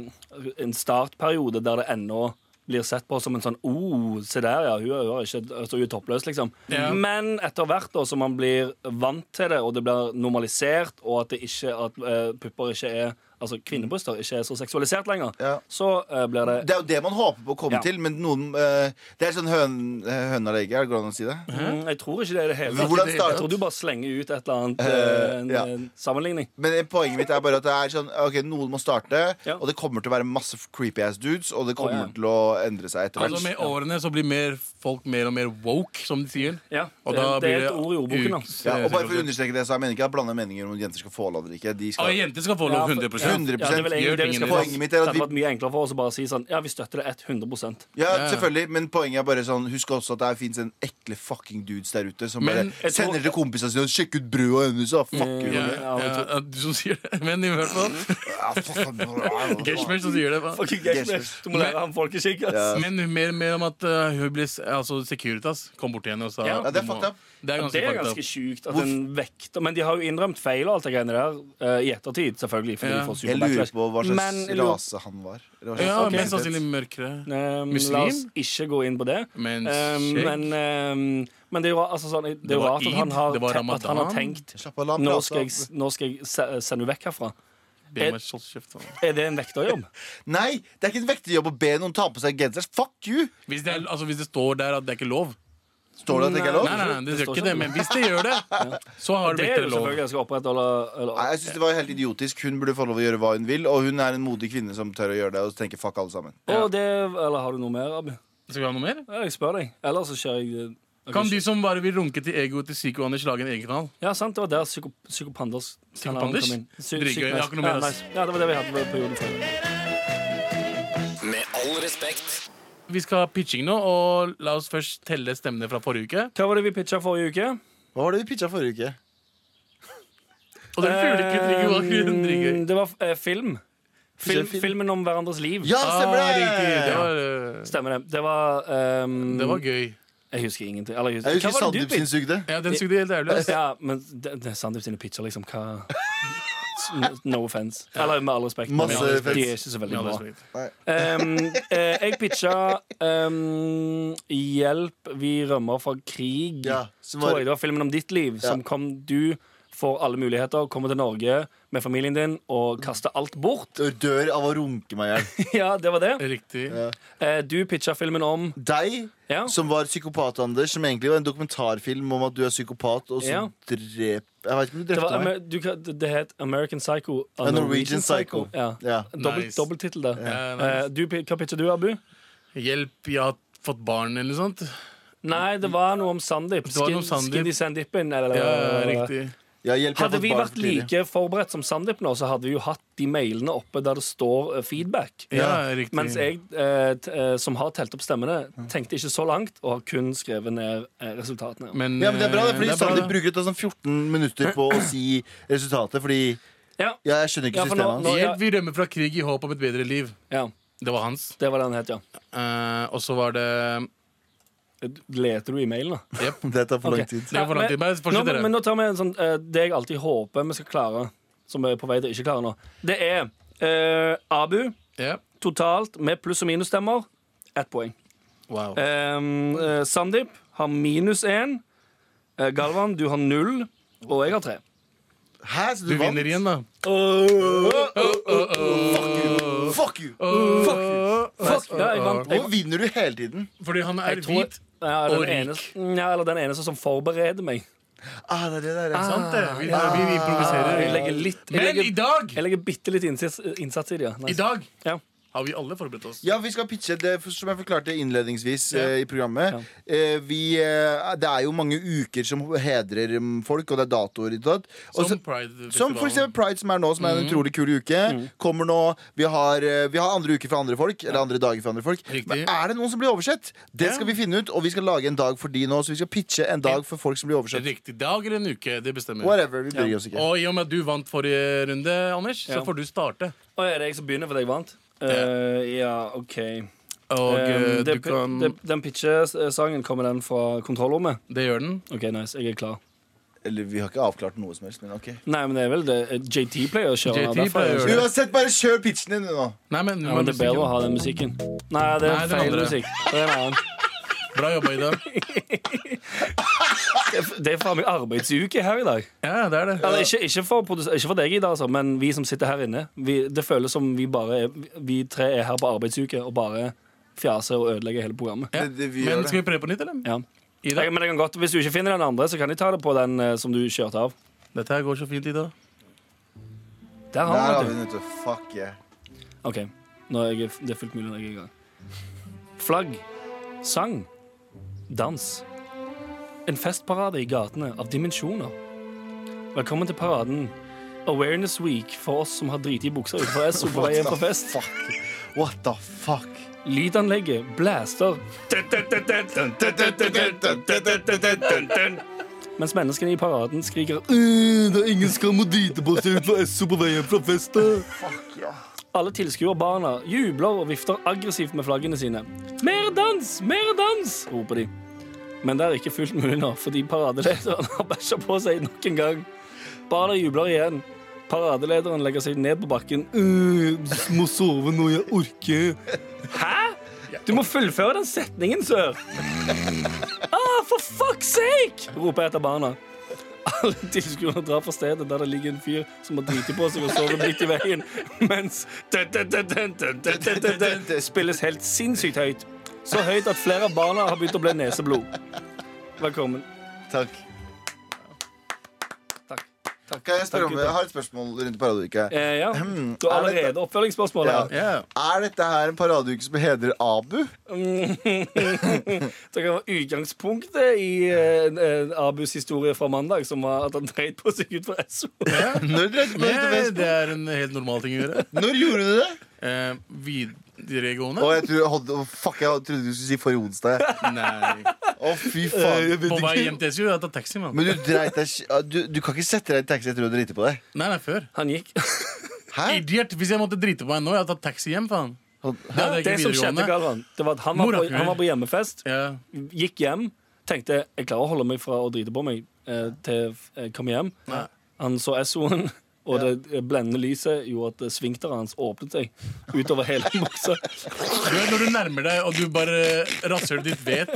C: en startperiode der det ennå blir sett på som en sånn oh, se der, ja. Hun er, hun er, ikke, altså, hun er toppløs, liksom.
E: Ja.
C: Men etter hvert da, som man blir vant til det, og det blir normalisert, og at, det ikke, at eh, pupper ikke er Altså kvinnebryster ikke er så seksualisert lenger,
B: Ja.
C: så eh, blir det
B: Det er jo det man håper på å komme
C: Ja.
B: til, men noen eh, Det er sånn høn, høna og egget, er det går an å si det?
C: mm, Jeg tror ikke det er det hele
B: Men
C: tatt.
B: hvordan
C: Jeg tror
B: startet
C: du bare slenger ut et eller annet
B: Eh,
C: eh, en,
B: ja.
C: en sammenligning.
B: Men poenget mitt er bare at det er sånn Ok, noen må starte,
C: Ja.
B: og det kommer til å være masse creepy ass dudes, og det kommer
C: Å, ja.
B: til å endre seg etter
E: Altså,
B: hvert.
E: med årene så blir mer folk mer og mer woke, som de sier.
C: Ja,
E: Og
C: det,
E: da
C: det er
E: blir
C: et ord i ordboken. da.
E: uks-
B: Ja, og bare for å understreke det, så jeg mener ikke at jeg blander meninger om jenter skal få lov eller ikke. De
E: Ja,
B: skal
E: jenter skal få
C: Ja,
E: lov
C: for- ja,
E: 100
B: Hundre-
C: ja, det er vel egentlig det vi skal
E: Gjør
C: få.
B: ingen- Poenget mitt er at
C: Det hadde
B: vi-
C: vært mye enklere for oss å bare si sånn Ja, vi støtter det 100
B: ja,
E: ja.
B: selvfølgelig, men poenget er bare sånn Husk også at det fins en ekle fucking dudes der ute som bare
E: Men
C: jeg tror-
B: sender til kompisene sine og 'Sjekk ut brua hennes', da. Fuck you.
E: ja,
C: Ja, jeg
E: ja,
C: tror-
E: ja, du som sier det. Men i hvert fall
B: Ja, for faen.
E: Geshmer som sier det. hva?
C: Du må lære ham folkeskikk,
B: Ja.
C: ass.
E: Men mer og mer om at uh, hun ble, s- altså Securitas kom bort til henne og sa
C: Ja.
B: Ja, det er
E: du må-
B: fucked up.
E: Det er ganske
C: Det er
E: fucked up.
C: ganske sjukt at en vekter Men de har jo innrømt feil og alt det greiene der eh, i ettertid, selvfølgelig. Fordi
E: Ja.
C: de får
B: Jeg lurer på hva slags
C: Men jeg lurer-
B: rase han var. Det var
E: Ja,
B: slags
C: Ok.
E: Mest
B: etnisitet.
E: sannsynlig mørkere.
C: Um,
E: Muslim?
C: La oss ikke gå inn på det.
E: Men
C: um,
E: skjegg?
C: men, um, men det er jo altså, sånn, det er
E: Det
C: jo
E: var
C: rart at han
E: Eid,
C: har,
E: det var
C: te- at han har
E: Ramadan.
C: tenkt
B: Slapp av, la han
C: nå
B: prate,
C: skal, jeg,
B: altså.
C: nå skal jeg se- sende henne vekk herfra.
E: Be meg sånn. holde kjeft. da.
C: Er det en vekterjobb?
B: Nei, det er ikke en vekterjobb å be noen ta på seg genser. Fuck you!
E: Hvis det, er, altså, hvis det står der at det er ikke lov
B: Står det at det ikke er lov?
E: Nei, nei, nei, det
C: Det står
E: gjør ikke
C: ikke
E: det,
C: lov.
E: men hvis det gjør det, så har det
C: Det
E: blitt
C: er
E: det
C: jo
E: lov.
C: selvfølgelig jeg skal opprettholde eller,
B: Nei, jeg synes det var helt idiotisk Hun burde få lov å gjøre hva hun vil, og hun er en modig kvinne som tør å gjøre det. Og tenker fuck alle sammen
C: Og det, eller har du noe mer, Abu?
E: Skal vi ha noe mer?
C: Ja, Jeg spør deg. Eller så kjører jeg eh,
E: Kan de som bare vil runke til egoet til Psyko Anders, lage en egen kanal?
C: Ja, sant. Det var der psyko, Psykopanders kanalen
E: Psykopanders?
C: kom inn. Psy-
E: Dritgøy, jeg har ikke noe
C: Ja,
E: mer, ass.
C: nice. ja, det var det vi hadde på- på jorden før.
A: Med all respekt.
E: Vi skal ha pitching nå, og la oss først telle stemmene fra forrige uke.
C: Mm, Hva var det vi pitcha forrige uke?
B: Hva var det vi pitcha forrige uke?
E: Og den fuglekvitt ligger bak grunnen.
C: Mm, Det var eh, film. film.
B: film.
C: Filmen om hverandres liv.
B: Ja,
E: Ah,
B: stemmer
E: riktig. Det
B: det!
E: var, eh,
C: Stemmer det. Det var, ehm,
E: det var gøy.
C: Jeg husker ingenting. Eller, jeg
B: Jeg husker
C: husker, hva var det
B: Sandeep
C: du
B: sin
C: pitchet?
B: sugde.
E: Ja, den sugde helt jævlig. ass.
C: Ja, men det, det er Sandeep sine pitcher, liksom. Hva No- No offense. Eller med all respekt.
B: Masse
C: men
B: offense.
C: De er ikke så veldig
E: Ja, det
C: bra.
E: er så vidt.
C: Um, eh, jeg pitcha um, Hjelp, vi rømmer fra krig.
B: Ja, som var-
C: Tror jeg det var filmen om ditt liv. Som kom du får alle muligheter, kommer til Norge med familien din og kaster alt bort.
B: Dør av å runke meg i hjel.
C: ja, det var det.
E: Riktig.
C: Eh, du pitcha filmen om
B: Deg,
C: Ja.
B: som var psykopat, Anders, som egentlig var en dokumentarfilm om at du er psykopat, og så
C: Ja.
B: drep Jeg vet ikke om du
C: Det,
B: drepte
C: var,
B: meg.
C: Amer- du, kan- det het American Psycho. A
B: A Norwegian Psycho.
C: Ja.
B: Ja.
C: Dobbelt,
E: Nice.
C: Dobbelttittel, det.
E: Ja, nice.
C: Eh, du, hva pitcha du, Abu?
E: Hjelp, jeg har fått barn, eller noe sånt.
C: Nei, det var noe om Sandeep.
E: Det var noe om
C: Skin-
E: Sandeep.
C: Skinny Sandeepen. Eller,
E: Ja, riktig.
B: Ja, hjelp, jeg har
C: Hadde
B: fått
C: vi
B: barn
C: vært
B: for tidlig.
C: like forberedt som Sandeep nå, så hadde vi jo hatt de mailene oppe der det står eh, feedback.
E: Ja, riktig.
C: Mens jeg, eh, t eh, som har telt opp stemmene, tenkte ikke så langt og har kun skrevet ned eh, resultatene.
E: Men,
B: Ja, men det er bra, det,
E: eh,
B: fordi
E: det er bra,
B: Sandeep
E: det.
B: bruker da sånn 14 minutter på å si resultatet, fordi
C: Ja,
B: ja, jeg skjønner ikke
C: Ja, for nå-
B: systemet hans.
C: nå-
E: Hjelp, vi rømmer fra krig i håp om et bedre liv.
C: ja,
E: Det var hans.
C: det var det han het, ja.
E: Eh, og så var det
C: Leter du i mailen, da?
E: Jepp.
B: Det tar for lang
C: Ok.
B: tid.
E: Det var for lang tid. Bare
C: Nå,
E: fortsett,
C: men,
E: dere.
C: men nå tar vi en sånn eh, Det jeg alltid håper vi skal klare, som vi er på vei til å ikke klare nå. Det er eh, Abu
E: Ja.
C: totalt med pluss- og minusstemmer ett poeng.
E: Wow.
C: Um, eh, Sandeep har minus én. Eh, Galvan, du har null. Og jeg har tre.
B: Hæ, så du,
E: Du vinner
B: vant?
E: igjen, da.
B: Fuck you! Fuck you!
C: Fuck, ja, jeg vant. Jeg,
B: Hvorfor vinner du hele tiden?
E: Fordi han er
C: jeg tror-
E: hvit.
C: ja, den
E: og rik.
C: eneste- Ja, eller den eneste som forbereder meg.
B: Ah, det er det der, ja.
E: Sant det? Vi, vi, vi improviserer.
C: Jeg legger litt jeg
E: Men
C: legger,
E: i dag
C: jeg legger bitte litt innsats, eh, innsats i det. Ja. Nice.
E: I dag
C: Ja.
E: har vi alle forberedt oss.
B: Ja, vi skal pitche det for- som jeg forklarte innledningsvis
E: Ja.
B: eh, i programmet. Eh, vi, eh, det er jo mange uker som hedrer mm, folk, og det er datoer. i det tatt. Og så-
E: Som Pride-festivalen.
B: Som for eksempel Pride, som er nå, som er en utrolig kul uke. Kommer nå, vi har, eh, vi har andre uker for andre folk, eller andre dager for andre folk.
E: Riktig.
B: Men er det noen som blir oversett? Det
E: Ja.
B: skal vi finne ut, og vi skal lage en dag for de nå. Så vi skal pitche en dag for folk som blir oversett.
E: Riktig dag eller en uke, det bestemmer.
B: Whatever, vi bryr oss ikke.
E: Og i og med at du vant forrige runde, Anders,
C: Ja.
E: så får du starte.
C: Og er det jeg som begynner fordi jeg vant? Eh, ja, OK.
E: Og eh,
C: Um,
E: du
C: det,
E: kan
C: det, den pitchesangen, kommer den fra kontrollrommet?
E: Det gjør den.
C: OK, nice. Jeg er klar.
B: Eller vi har ikke avklart noe som helst, men ok.
C: Nei, men det er vel det eh, JT pleier å kjøre.
E: JT
C: derfor er jeg
E: pleier å
C: så-
E: gjøre det.
B: Uansett, bare kjør pitchen din nå.
E: Nei, men,
C: Ja, men det er bedre å ha den musikken. Nei, det er
E: Nei, den
C: feil
E: andre.
C: musikk. Det er, en annen.
E: Bra jobba, Ida.
C: Det er- det er faen meg arbeidsuke her i dag.
E: Ja, det er det.
C: Eller, ikke, ikke, for, produs- ikke for deg, Ida, altså, men vi som sitter her inne. Vi, det føles som vi bare er, Vi tre er her på arbeidsuke og bare fjaser og ødelegger hele programmet.
E: Ja.
B: Det- det vi gjør
E: Men
B: det.
E: skal vi prøve på nytt, eller?
C: Ja.
E: Ida?
C: Jeg, men jeg kan godt, Hvis du ikke finner den andre, så kan de ta det på den eh, som du kjørte av.
E: Dette her går så fint, Ida.
C: Der
B: Der
C: har
B: har
C: vi
B: vi
C: den.
B: den, vet du. Fuck yeah.
C: OK. Nå er jeg, det er fullt mulig når jeg er i gang. Flagg. Sang. Dans. En festparade i gatene av dimensjoner. Velkommen til paraden. Awareness Week for oss som har driti i buksa utenfor SO på vei hjem fra fest.
B: Fuck. What the fuck?
C: Lydanlegget blaster mens menneskene i paraden skriker «Øh, Det er ingen skam å drite på seg utenfor SO på vei hjem fra fest.
B: Fuck, ja.
C: Alle tilskuerbarna jubler og vifter aggressivt med flaggene sine. Mer dans! Mer dans! roper de. Men det er ikke fullt mulig nå, fordi paradelederen har bæsja på seg nok en gang. Barna jubler igjen. Paradelederen legger seg ned på bakken. «Øh, må sove når jeg orker. Hæ? Du må fullføre den setningen, sør. Ah, for fuck's sake! roper jeg etter barna. Alle tilskuerne drar fra stedet der det ligger en fyr som har driti på seg og sover midt i veien, mens det spilles helt sinnssykt høyt. Så høyt at flere av barna har begynt å bli neseblod. Velkommen.
B: Takk.
C: Takk. Takk.
B: Kan jeg spørre om
C: Takk,
B: Jeg har et spørsmål rundt paradeuka.
C: Eh, ja. Du har allerede oppfølgingsspørsmål
B: Ja.
C: her.
B: Er dette her en paradeuke som hedrer Abu?
C: Det kan være utgangspunktet i eh, eh, Abus historie fra mandag, som var at han dreit på seg ut fra SO.
B: Når, dreit- når,
E: Ja,
B: dreit-
E: det er en helt normal ting å gjøre.
B: når gjorde du det?
E: Eh, videregående?
B: Å, jeg tror, hold- å, fuck, jeg trodde du skulle si forrige onsdag.
E: Nei. Eh,
B: Å, Å, fy faen.
E: På vei hjem til SU, jeg tar taxi, mann.
B: Men du dreit deg sk- du, du kan ikke sette deg i taxi etter å drite på deg.
E: Nei, nei, før.
C: Han gikk.
B: Hæ?
E: Idiot! Hvis jeg måtte drite på meg nå, jeg hadde tatt taxi hjem, faen. Det hadde jeg
C: Det
E: ikke i
C: som skjedde,
E: videregående.
C: Galvan, det var at han var, på,
E: Morapuler.
C: han var på hjemmefest,
E: Ja.
C: gikk hjem, tenkte jeg klarer å holde meg fra å drite på meg eh, til jeg kom hjem.
E: Nei.
C: Han så SO-en, og det blendende lyset gjorde at eh, sfinkteren hans åpnet seg utover hele buksa.
E: Du vet, når du nærmer deg, og du bare rasshølet ditt vet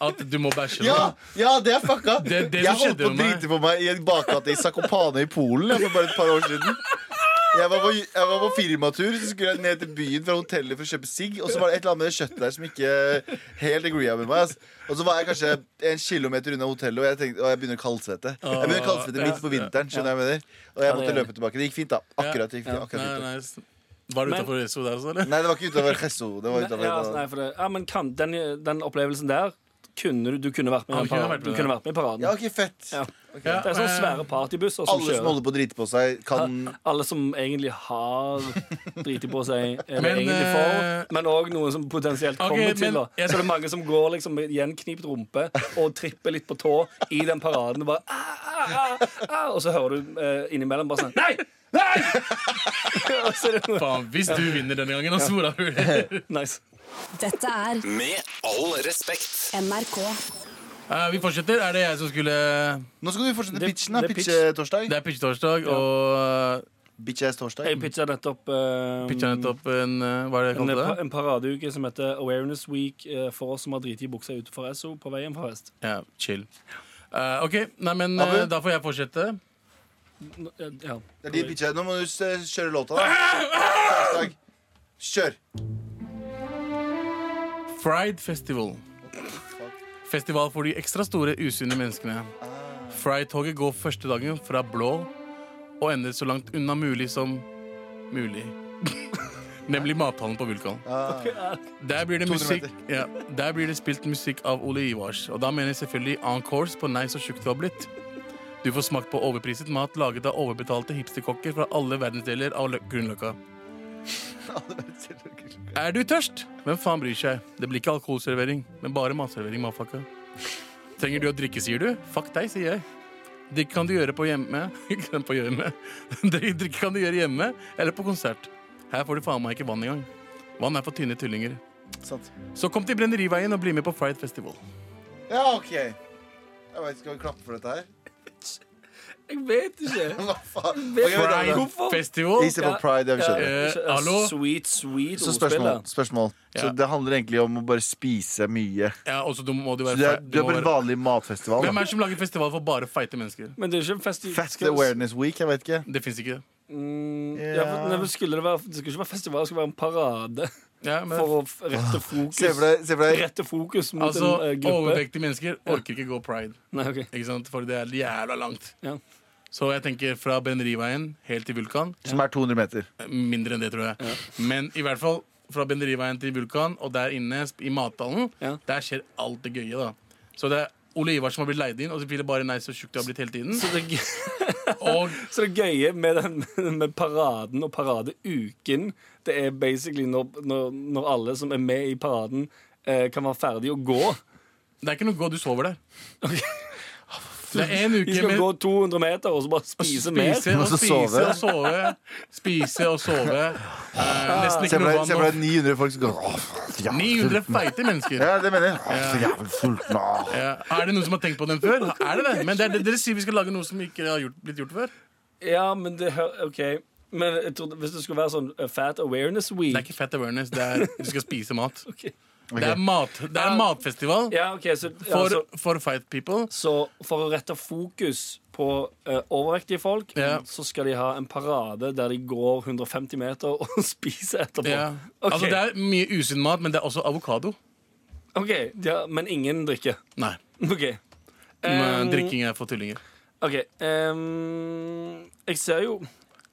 E: at du må bæsje nå.
B: Ja, ja, det er fucka!
E: Det- det
B: jeg
E: som
B: holdt på
E: skjedde
B: å
E: med meg.
B: drite på meg i en bakgate i Zakopane i Polen jeg, for bare et par år siden. Jeg var, på, jeg var på firmatur, så skulle jeg ned til byen fra hotellet for å kjøpe sigg. Og så var det et eller annet med det kjøttet der som ikke helt agreea med meg. ass. Og så var jeg kanskje en kilometer unna hotellet, og jeg, tenkte, og jeg begynner å kaldsvette. Jeg begynner å kaldsvette midt på vinteren, skjønner jeg hva jeg mener. Og jeg måtte løpe tilbake. Det gikk fint, da. Akkurat. Det gikk fint, akkurat
E: Nei,
B: fint, da.
E: nei, s- Var du
C: Men-
E: utafor SO der også, eller?
B: Nei, det var ikke utover Chesso. Det var
C: Nei,
B: utover
C: ja, altså, nei, for det, ja, men kan, den, den opplevelsen der kunne du, du kunne vært med i
E: Han
C: den
E: kunne
C: paraden.
E: vært med
C: Du
E: der.
C: kunne vært med i paraden.
B: Ja, ok, fett.
C: Ja.
E: Ja,
C: Det er sånne
E: eh,
C: svære partybusser som
B: Alle som
C: kjører.
B: holder på å drite på seg, kan
C: Alle som egentlig har driti på seg, eller
E: Men,
C: egentlig
E: eh,
C: for, men òg noen som potensielt
E: Ok,
C: kommer til.
E: men-
C: Da. Så det er mange som går liksom med gjenknipt rumpe og tripper litt på tå i den paraden. Og, bare, ah, ah, ah, ah, og så hører du eh, innimellom bare sånn Nei! Nei! og så er det noe
E: Faen, hvis du vinner denne gangen, altså, hvordan blir det?
C: nice.
D: Dette er
A: Med all respekt.
D: NRK.
E: Eh, Vi fortsetter. Er det jeg som skulle
B: Nå skal du fortsette
C: Det-
B: pitchen, da. eh,
C: det er pitch.
B: Pitch-torsdag.
E: Det er pitchetorsdag, og eh,
B: Bitch-ass-torsdag.
C: Jeg pitcha nettopp eh,
B: Mm.
E: pitcha nettopp en eh, Hva er det jeg
C: en,
E: kalte det?
C: en paradeuke som heter Awareness Week eh, for oss som har driti i buksa utenfor SO på vei hjem fra fest.
E: Ja, chill. Eh, OK, nei, men eh,
B: Abu?
E: da får jeg fortsette.
C: N- eh, Ja.
B: Det er de pitchene. Nå må du s- kjøre låta. da. Hashtag. Kjør.
E: Fried Festival. Festival for de ekstra store, usunne menneskene. Fry-toget går første dagen fra Blå og ender så langt unna mulig som mulig. Nemlig mathallen på Vulkan. Der blir
B: 200
E: det musikk ja, Der blir det spilt musikk av Ole Ivars. Og da mener jeg selvfølgelig encores på Nei, så tjukk du har blitt. Du får smakt på overpriset mat laget av overbetalte hipsterkokker fra alle verdensdeler av lø- Grünerløkka. Er du tørst? Hvem faen bryr seg? Det blir ikke alkoholservering, men bare matservering. motherfucker. Trenger du å drikke, sier du? Fuck deg, sier jeg. Drikke kan du gjøre på hjemme På hjemme. Drikke kan du gjøre hjemme eller på konsert. Her får du faen meg ikke vann engang. Vann er for tynne tullinger.
B: Sant.
E: Så kom til Brenneriveien og bli med på Fried Festival.
B: Ja, OK. Jeg vet, ikke, Skal vi klappe for dette her?
C: Jeg vet ikke.
B: Hva faen? Ok, vi tar det.
C: Hvorfor?
E: Festival?
B: Istedenfor pride. Det har vi skjønt.
E: Eh,
C: Så-
E: hallo?
C: Sweet, sweet
B: Så
C: ordspill, da.
B: spørsmål. spørsmål.
E: Ja.
B: Så det handler egentlig om å bare spise mye.
E: Ja, også du må du være
B: Du er,
E: fri-
B: du er
E: må
B: på en
E: være-
B: vanlig matfestival.
E: Hvem er
B: Da.
E: det som lager festival for bare feite mennesker?
C: Men det er jo ikke en festi
B: Fat
C: skal-
B: Awareness Week, jeg vet ikke.
E: Det fins ikke.
C: Mm,
B: Ja.
C: ja, for- nei, men skulle det, være, det skulle ikke være festival, det skulle være en parade
E: Ja, men,
C: for å f- rette fokus.
B: Se for deg, se for deg.
C: Rette fokus mot
E: altså,
C: en eh, gruppe.
E: Overvektige mennesker orker ikke gå pride.
C: Nei, ok
E: Ikke sant? For det er jævla langt.
C: ja.
E: Så jeg tenker fra Brenneriveien helt til Vulkan.
B: Som er 200 meter.
E: Mindre enn det, tror jeg. Men i hvert fall fra Brenneriveien til Vulkan, og der inne sp- i mathallen,
C: Ja.
E: der skjer alt det gøye, da. Så det er Ole Ivar som har blitt leid inn, og så blir det bare nei, så tjukk du har blitt hele tiden.
C: Så det, gøy-
E: Og
C: så det gøye med, den, med paraden og paradeuken, det er basically når, når, når alle som er med i paraden, eh, kan være ferdig å gå.
E: det er ikke noe gå, du sover der. Det er en
C: De
E: uke
C: skal
E: med
C: gå 200 meter og så bare spise mer.
E: Spise og
B: Og så
E: spise
B: sove.
E: og sove. Spise og sove. Eh,
C: Ah.
E: nesten
B: Se for
E: ikke noe
B: deg, se for deg
E: vann.
B: 900 folk som går Åh, så
E: og-
B: jævlig
E: 900
B: sulten.
E: feite mennesker.
B: Ja, det mener jeg. Åh, Så jævlig sulten. åh.
E: Ja, Er det noen som har tenkt på den før? Er det det? Men det er, det- dere sier vi skal lage noe som ikke har gjort, blitt gjort før.
C: Ja, men det hø- OK. Men jeg trodde, hvis det skulle være sånn eh, Fat Awareness
E: Det er
C: Week
E: ikke fat awareness, det er du skal spise mat.
C: Ok.
E: Det er, mat, det er matfestival
C: Ja, altså- ok, så, ja,
E: for,
C: så,
E: for fight people.
C: så for å rette fokus på eh, overvektige folk,
E: Ja.
C: så skal de ha en parade der de går 150 meter og spiser etterpå.
E: Ja.
C: Ok,
E: Altså, det er mye usunn mat, men det er også avokado.
C: ok, ja, Men ingen drikker.
E: Nei.
C: OK.
E: men
C: Um,
E: Drikking er for tullinger.
C: ok ehm, jeg ser jo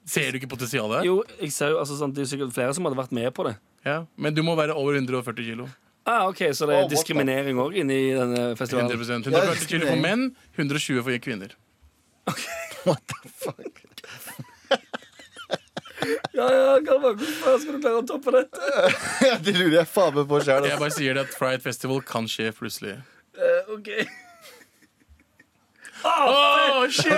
E: Ser du ikke potensialet her?
C: Jo, jeg ser jo altså, sånn, det er sikkert flere som hadde vært med på det.
E: Ja. Men du må være over 140 kilo.
C: Ah, ok, Så det
B: Oh,
C: er
B: what the-
C: diskriminering òg inni denne festivalen?
E: 100%.
B: Ja,
E: 140 kilo for menn, 120 for kvinner.
B: What the fuck?
C: Ja, ja, Galvan, hvordan skal du klare å toppe dette?
B: Det lurer jeg faen meg på altså. sjæl.
E: Jeg bare sier det at Fried Festival kan skje plutselig.
C: Eh, OK.
E: Oh, shit!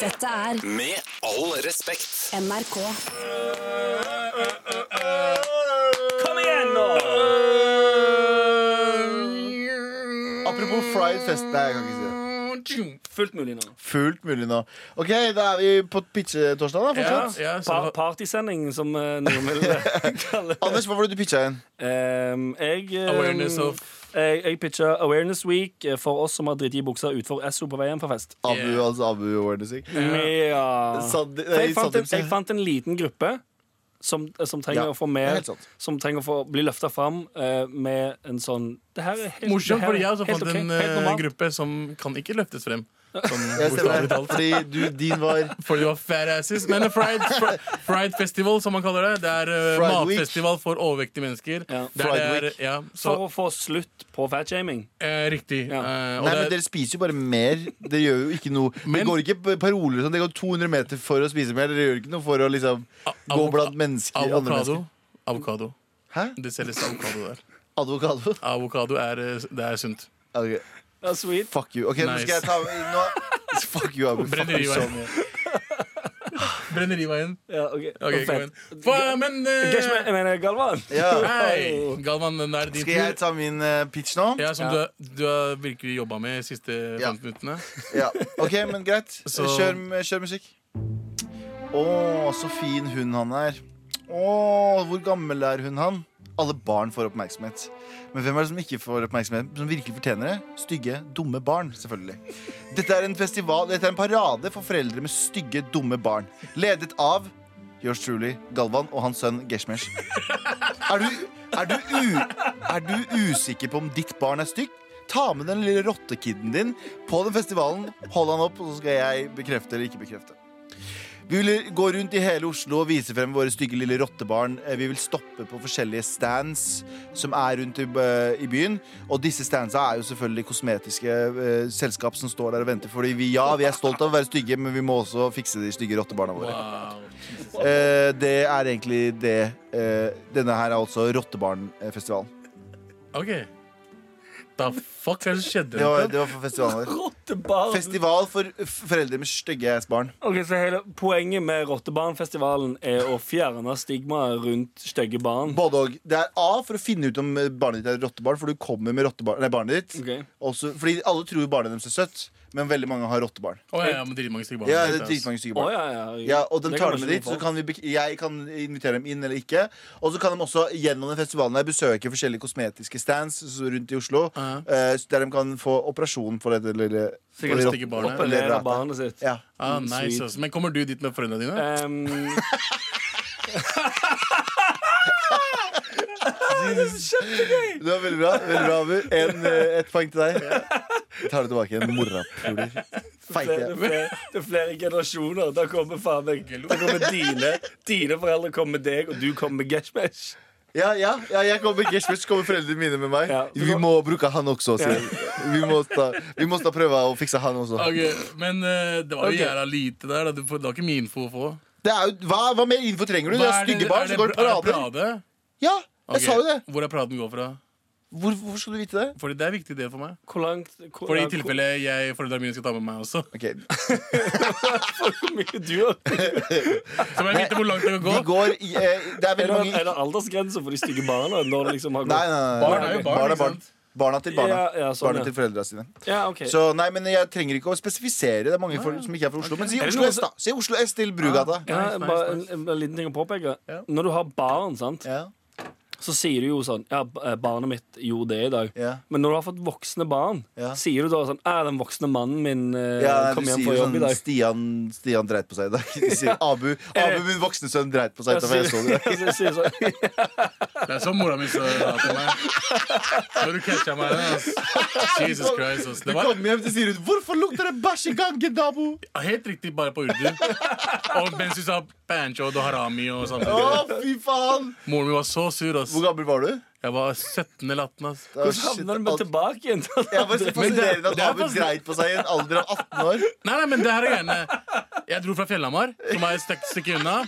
D: Dette er
A: Med all respekt.
D: NRK.
C: Kom igjen, nå!
B: Apropos fried fest Nei, jeg kan ikke si det.
C: Fullt mulig nå.
B: Fullt mulig nå. OK, da er vi på pitchetorsdag, da.
E: Ja,
B: Fortsatt.
E: ja, så,
C: Par partysending, som eh, noen vil eh, kalle det.
B: Anders, hva var det du pitcha igjen?
C: Ehm, jeg, ehm,
E: Awareness of-
C: Jeg, jeg pitcha Awareness Week eh, for oss som har driti i buksa utfor Esso på vei hjem fra fest.
B: Abu,
E: Yeah.
B: altså Abu Awareness Week.
C: Ja.
B: Sad-
C: For
B: nei,
C: jeg, fant en,
B: Saddam-
C: jeg fant en liten gruppe som, eh, som trenger
B: Ja,
C: å få
B: det er
C: mer
B: helt sant.
C: Som trenger å få bli løfta fram eh, med en sånn Det her er helt,
E: morsomt,
C: det her
E: fordi jeg
C: er
E: også
C: helt
E: fant
C: ok,
E: en
C: helt
E: eh,
C: normalt.
E: gruppe som kan ikke løftes frem. Som
B: Jeg stemmer.
E: bokstavelig talt.
B: Fordi du, din var
E: Fordi det var fat asses. Men eh, Fried, fri, fried Festival, som man kaller det. Det er eh,
B: Fried Week.
E: matfestival for overvektige mennesker.
C: Ja.
E: Der
B: Fried
E: det er, ja, så,
C: For å få slutt på fatshaming.
E: eh, riktig.
C: Ja.
E: Eh, og
B: Nei, men
E: det,
B: Dere spiser jo bare mer. Dere gjør jo ikke noe Det
E: Men-
B: går ikke p- paroler sånn. Dere går 200 meter for å spise mer. Dere gjør ikke noe for å liksom gå
E: avo-
B: blant mennesker, andre
E: avokado.
B: mennesker.
E: avokado.
B: Hæ?
E: Det selges avokado der.
B: Advokado?
E: Avokado er, eh, det er sunt.
B: Ok,
C: Ja, sweet.
B: Fuck you. Ok,
E: Nice.
B: nå skal jeg ta nå, Fuck you, Abu. Fuck you so
E: Brenneriveien. Brenneriveien.
C: Ja, ok,
E: Ok, gå inn.
C: Fett.
E: Hva, men eh,
C: Gash, men- jeg mener Galvan.
B: Ja.
E: Hei! Galvan, den er din
B: Skal jeg
E: tur.
B: ta min eh, pitch nå?
E: Ja, som Du, du har virkelig jobba med de siste
B: Ja.
E: 15 minuttene.
B: Ja. Ok, men greit.
E: Så-
B: Kjør, kjør musikk. Å, så fin hund han er. Å, hvor gammel er hun han? Alle barn får oppmerksomhet. Men hvem er det som ikke får oppmerksomhet? Som virkelig fortjener det? Stygge, dumme barn, selvfølgelig. Dette er en festival, dette er en parade for foreldre med stygge, dumme barn. Ledet av yours truly, Galvan og hans sønn Geshmesh. Er du, er, du u, er du usikker på om ditt barn er stygt? Ta med den lille rottekidden din på den festivalen. Hold han opp, og så skal jeg bekrefte eller ikke bekrefte. Vi vil gå rundt i hele Oslo og vise frem våre stygge lille rottebarn. Eh, Vi vil stoppe på forskjellige stands som er rundt i, b- i byen. Og disse standsa er jo selvfølgelig kosmetiske eh, selskap som står der og venter. Fordi vi, ja, vi er stolt av å være stygge, men vi må også fikse de stygge rottebarna våre.
E: Wow.
B: Eh, det er egentlig det eh, Denne her er altså Rottebarnfestivalen.
E: OK. Da fuck er det som skjedde?
B: Det var, det var for festivalen vår.
C: Rottebarn.
B: Festival for f- foreldre med stygge ass barn.
C: Ok, så hele Poenget med Rottebarnfestivalen er å fjerne stigmaet rundt stygge barn.
B: Både og. Det er A for å finne ut om eh, barnet ditt er rottebarn, for du kommer med rottebarn, nei, barnet ditt.
C: Ok.
B: Også, fordi alle tror jo barnet deres er søtt, men veldig mange har rottebarn.
E: Å, ja, ja, men dritmange stykker barn.
B: Ja, det er dritmange stygge
C: Å,
B: barn.
C: ja, ja, ja.
B: Ja, og de
C: Det
B: tar
C: kan
B: dem
C: man
B: med dit,
C: ikke
B: så
C: få.
B: kan vi, bek- jeg kan invitere dem inn eller ikke. Og så kan de også gjennom den festivalen her besøke forskjellige kosmetiske stands s- rundt i Oslo.
E: Ja.
B: eh, s- der de kan få operasjon for dette lille
E: Sikkert
B: lille
E: stygge
B: rott-
E: barnet.
B: lille
C: Operere
B: rata.
C: barnet sitt.
B: Ja.
E: Ah, nice,
C: Sweet.
E: ass. Men kommer du dit med foreldrene dine?
C: Ehm,
B: Det var veldig bra. veldig bra Abu. En, eh, et poeng til deg. Jeg tar det tilbake igjen. Morapuler.
C: det,
B: Feite.
C: er flere, det er flere generasjoner. Da kommer faen meg Da kommer dine, dine foreldre kommer med deg, og du kommer med Geshmesh.
B: Ja, ja, ja, jeg kommer Geshmesh kommer foreldrene mine med meg.
C: Ja.
B: Vi må bruke han også. sier jeg. Vi må, ta, vi må ta prøve å fikse han også.
E: Ok, men eh, det var jo
C: Ok.
E: jævla lite der. Da. Du får- Det var ikke mye info å få.
B: Det er jo, hva, hva mer info trenger du? Det
E: Hva
B: er stygge barn
E: er det-
B: som går i
E: er det
B: parader.
E: parade?
B: Ja,
E: Ok,
B: jeg sa jo det.
E: Hvor er paraden går fra?
B: Hvor, hvorfor skal du vite det?
E: Fordi det er viktig det for meg.
C: Hvor langt hvor,
E: Fordi i
C: hvor-
E: tilfelle jeg foreldrene mine skal ta med meg også.
B: Ok,
C: Hvor mye du har
E: Så må jeg vite hvor langt det kan
B: Vi
E: gå.
B: går i, eh, Det er
C: Er
B: veldig
C: det,
B: mange
C: er det aldersgrense for de stygge barna? Når det liksom har gått
B: Nei, nei, nei.
E: Barn er jo barn,
B: Barn
E: ikke
B: er barn.
E: sant?
B: Barna til barna.
C: Ja, ja, sånn,
B: barna
C: ja.
B: til foreldra sine.
C: Ja, ok
B: Så nei, men Jeg trenger ikke å spesifisere. Det er mange for, som ikke er fra Oslo. Men si
C: Er det
B: Oslo
C: noe
B: S, da. Si Oslo S til Brugata.
C: ja,
E: Nice, nice,
C: bare en,
E: nice.
C: en, liten ting å påpeke.
E: Ja.
C: Når du har barn, sant,
B: Ja.
C: så sier du jo sånn Ja, b- eh, barnet mitt gjorde det i dag.
B: Ja.
C: Men når du har fått voksne barn,
B: Ja.
C: sier du da sånn Ja, den voksne mannen min eh,
B: Ja, nei,
C: kom
B: du
C: hjem
B: sier
C: fra
B: jo
C: jobb i
B: sånn
C: dag.
B: Stian, Stian dreit på seg i dag. Du sier Abu, Abu min voksne sønn dreit på seg.
C: Ja,
B: utenfor, Jeg så det.
C: sier- ja, sier sånn,
E: Det er sånn mora mi sa til meg. Når du catcha meg der, ass. Jesus Christ, ass.
B: Du
E: Det var
B: kommer hjem til sier hun 'Hvorfor lukter det bæsj i gangen, nabo?'
E: helt riktig bare på urdu. Og mens du sa pancho og harami og sånt.
B: Å, fy faen!
E: Moren min var så sur, ass.
B: Hvor gammel var du?
E: Jeg var 17 eller 18, ass.
B: Å,
C: Hvordan
B: shit,
C: havner du med
B: alt-
C: tilbake igjen?
B: Jeg var så fascinerende at
E: det er
B: Abu
E: fascin-
B: dreit på seg i en alder av 18 år.
E: Nei, nei, men det her er gjerne Jeg dro fra Fjellhamar, som er et stek- stykke unna.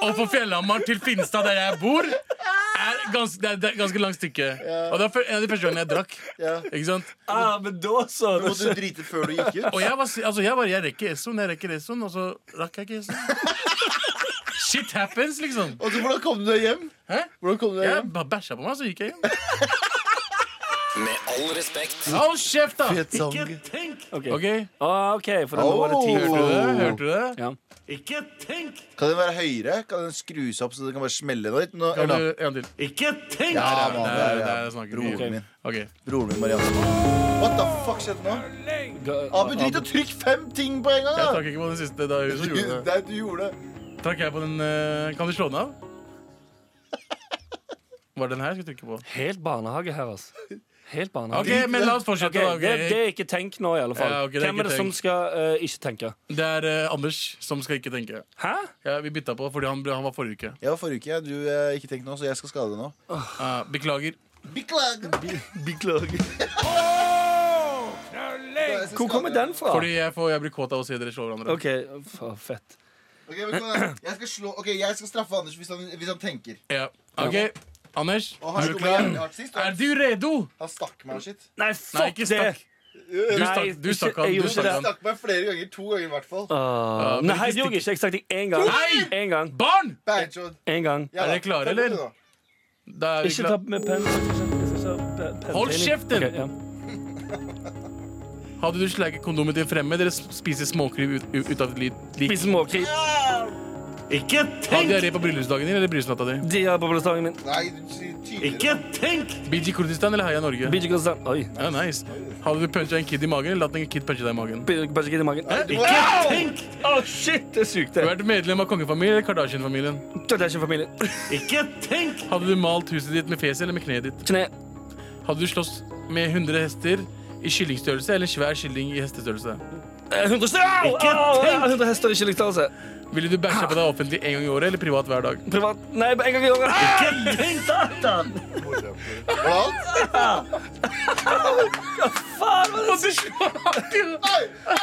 E: Og fra Fjellhamar til Finstad, der jeg bor, er gans, det, er, det er et ganske langt stykke. Og det var før- en av de første gangene jeg drakk. Ikke sant?
C: Ah, men da så
B: Du måtte drite før du gikk ut.
E: Og jeg var si- altså jeg, var, jeg rekker Essoen, jeg rekker Essoen, og så rakk jeg ikke Essoen. Shit happens, liksom.
B: Og så Hvordan kom du deg hjem?
E: Hæ?
B: Hvordan kom du deg
E: Jeg
B: hjem?
E: bare bæsja på meg, så gikk jeg hjem.
A: Med all respekt.
E: Hold kjeft, da!
B: Fet sang.
E: Ikke tenk!
C: Ok,
E: OK?
C: Ah, ok, for nå var det tid
E: Hørte du
C: for
E: det? Hørte du det?
C: ja.
E: Ikke tenk!
B: Kan den være høyere? Kan den skrus opp så det kan bare smelle noe? Nå,
E: Kan
B: nå.
E: du en til? Ikke tenk!
B: Ja,
E: Der,
B: mann,
E: der,
B: der,
E: der
B: ja.
E: snakker vi.
B: Broren min.
E: Ok.
B: Broren min Marianne. What the fuck skjedde nå? Abu, drit og trykk fem ting på en gang!
E: Jeg
B: da!
E: trakk ikke på den siste. Da hun som gjorde det.
B: Nei, du gjorde det.
E: Trakk jeg på den eh, Kan du slå den av? Var det den her jeg skulle trykke på?
C: Helt barnehage her, altså. Helt barnehage.
E: OK, men la oss
C: Ok,
E: fortsette. da,
C: det, det
E: ok.
C: er ikke tenk nå, i alle fall.
E: Ja, ok, det er
C: Hvem er
E: ikke
C: det som
E: tenk.
C: skal eh, ikke tenke?
E: Det er eh, Anders som skal ikke tenke.
C: Hæ?
E: Ja, vi bytta på fordi han, han var forrige uke.
B: Jeg var forrige uke. jeg. Du eh, ikke tenk nå, så jeg skal skade deg nå.
E: Eh, beklager.
B: Beklager. Beklager.
C: Hvor kommer den fra?
E: Fordi jeg, får, jeg blir kåt av å se dere slå hverandre.
C: OK, f- fett.
B: Ok, men kom igjen. jeg skal, slå, ok, jeg skal straffe Anders hvis han, hvis han tenker.
E: Ja. Ok, Anders,
B: Og
E: er
B: han
E: du
B: slo meg
E: klar?
B: jævlig hardt sist.
E: Er
B: og
E: du redo?
B: Han stakk meg og shit.
C: Nei,
E: Nei,
C: fuck
E: ikke
C: det!
E: stakk. Du
C: Nei,
E: stakk, du
C: ikke-
E: stakk han.
C: jeg
E: Du
C: gjorde
E: stakk
C: det.
B: Han
E: han.
B: stakk meg flere ganger. To ganger i hvert fall.
C: Ah,
E: men
C: Nei,
E: ikke
C: det gjorde jeg ikke. Jeg stakk deg én gang.
E: Nei!
C: En gang.
E: Barn!
B: Beinshot.
C: En gang.
B: Ja,
E: Er
B: da.
E: dere klare,
B: Takk for
E: eller?
B: det, da.
E: Da er vi
C: Ikke ta
E: klar.
C: med penn. Jeg skal ikke ha pe-
E: Hold
C: penn-
E: kjeften!
C: Ok, ja.
E: Hadde du sleiket kondomet til fremme, dere sp- spiser småkryp ut, ut av et lit. lik.
C: Spise måkryp. Ikke
E: Hadde diaré på bryllupsdagen din eller bryllupsnatta di?
C: De har boblestangen min.
B: Nei, du sier tydeligere.
C: tenk!
E: BG Kurdistan eller Heia Norge?
C: Bidje Kurdistan. Oi.
E: Ja, nice. Hadde du punchet en kid i magen eller latt en kid punche deg i magen?
C: Bidje Kurdistan i magen.
B: Wow!
C: Tenk! Å, shit, det sugde.
E: Du har vært medlem av kongefamilien eller Kardashian-familien?
C: Det er ikke familien. Ikke tenk!
E: Hadde du malt huset ditt med fjeset eller med kneet ditt?
C: Kne.
E: Hadde du slåss med 100 hester i kyllingstørrelse eller en svær kylling i hestestørrelse?
C: Eh, 100 stø- Au!
E: Ikke
C: Au!
E: tenk!
C: 100 hester, ikke lyktelse.
E: Ville du bæsja på deg offentlig en gang i året eller privat hver dag?
C: Privat. Nei, en gang i året. Ikke tenk! Satan!
B: Hva?
C: Faen, hva er det som
B: Nei, nei,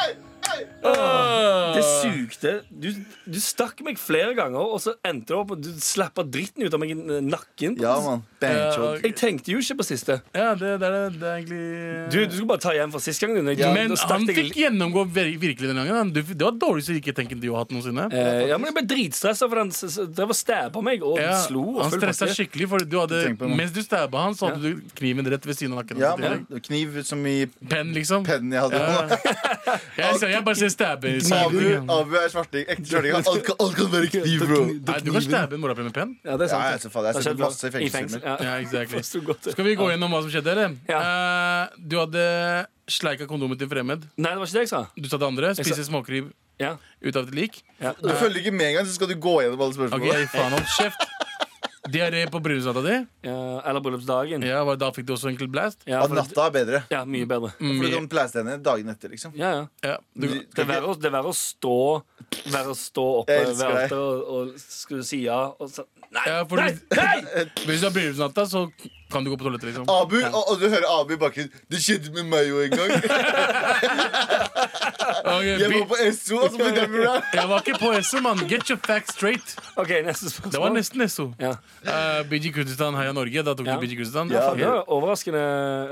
B: nei.
C: Det sugde. Du, du stakk meg flere ganger, og så endte det opp at du slappa dritten ut av meg i eh, nakken.
B: Ja, mann. Beinshot.
C: Jeg tenkte jo ikke på siste.
E: Ja, det, det, er, det er egentlig
C: Du, du skulle bare ta igjen for sist gang. Du,
B: Ja,
E: Men
C: da stakk
E: han
C: jeg-
E: fikk gjennomgå vir virkelig den gangen. Han- du- Det var dårligste ikke-tenken du har hatt noensinne.
C: Eh, ja, men Jeg ble dritstressa, for han s- s- drev og stabba meg og
E: Ja,
C: slo. Og
E: han
C: full
E: stressa
C: pakke.
E: skikkelig, for du hadde,
B: Tenk på det nå.
E: mens du stabba han, så hadde du kniven rett ved siden av nakken.
B: Ja,
E: hans i
B: mann.
E: tillegg.
B: Kniv som i
E: Penn, liksom.
B: pennen jeg hadde.
E: Ja. Jeg, ser- jeg bare ser stabbe.
B: Abu,
E: stabbe.
B: Abu er svarting. Ekte svarting. Alt, kan- alt kan være kniv, bro.
E: Nei, du kan stabbe en morapule med penn.
C: Ja, det er sant.
B: Ja, jeg ser faen, jeg har
C: Det har
B: sett
C: skjedd
B: masse
C: blant- i fengsel.
B: fengselsfilmer.
C: Ja.
E: Ja, exactly.
C: Så godt.
E: Skal vi gå gjennom hva som skjedde, eller? Eh, du hadde sleika kondomet til fremmed.
C: Nei, det var ikke det jeg sa.
E: Du sa det andre. Spise småkryp
C: Ja.
E: ut av et lik.
C: Ja.
B: Du følger ikke med engang, så skal du gå gjennom alle
E: Ok,
B: spørsmålene.
E: faen hold kjeft. Diaré på bryllupsnatta di.
C: Ja, eller bryllupsdagen.
E: Ja, hva- da fikk du også enkel blast.
C: Ja,
B: At
C: for-
B: natta er bedre.
C: ja, mye bedre.
E: Mm.
B: For du kan plæse henne dagen etter, liksom.
C: Ja, ja.
E: Ja, du,
C: Det er verre å, det er verre å stå Verre å stå oppe
B: Jeg
C: ved
B: elsker deg.
C: alteret og, og skulle si ja, og så Nei!
E: ja, for
C: Nei!
E: hvis,
C: nei!
E: hvis du har bryllupsnatta, så kan du gå på toalettet, liksom.
B: Abu, og, og du hører Abu i bakgrunnen. Det skjedde med meg jo en gang.
E: Ok,
B: Ah, Jeg
E: vi-
B: var på SO, og så ble det bra.
E: jeg var ikke på SO, mann. Get your facts straight.
C: OK, neste spørsmål.
E: Det var nesten SO.
C: Ja.
E: Uh, BG Kurdistan, heia Norge. Da tok
C: Ja.
E: du BG Kurdistan.
B: Ja.
C: Det var overraskende,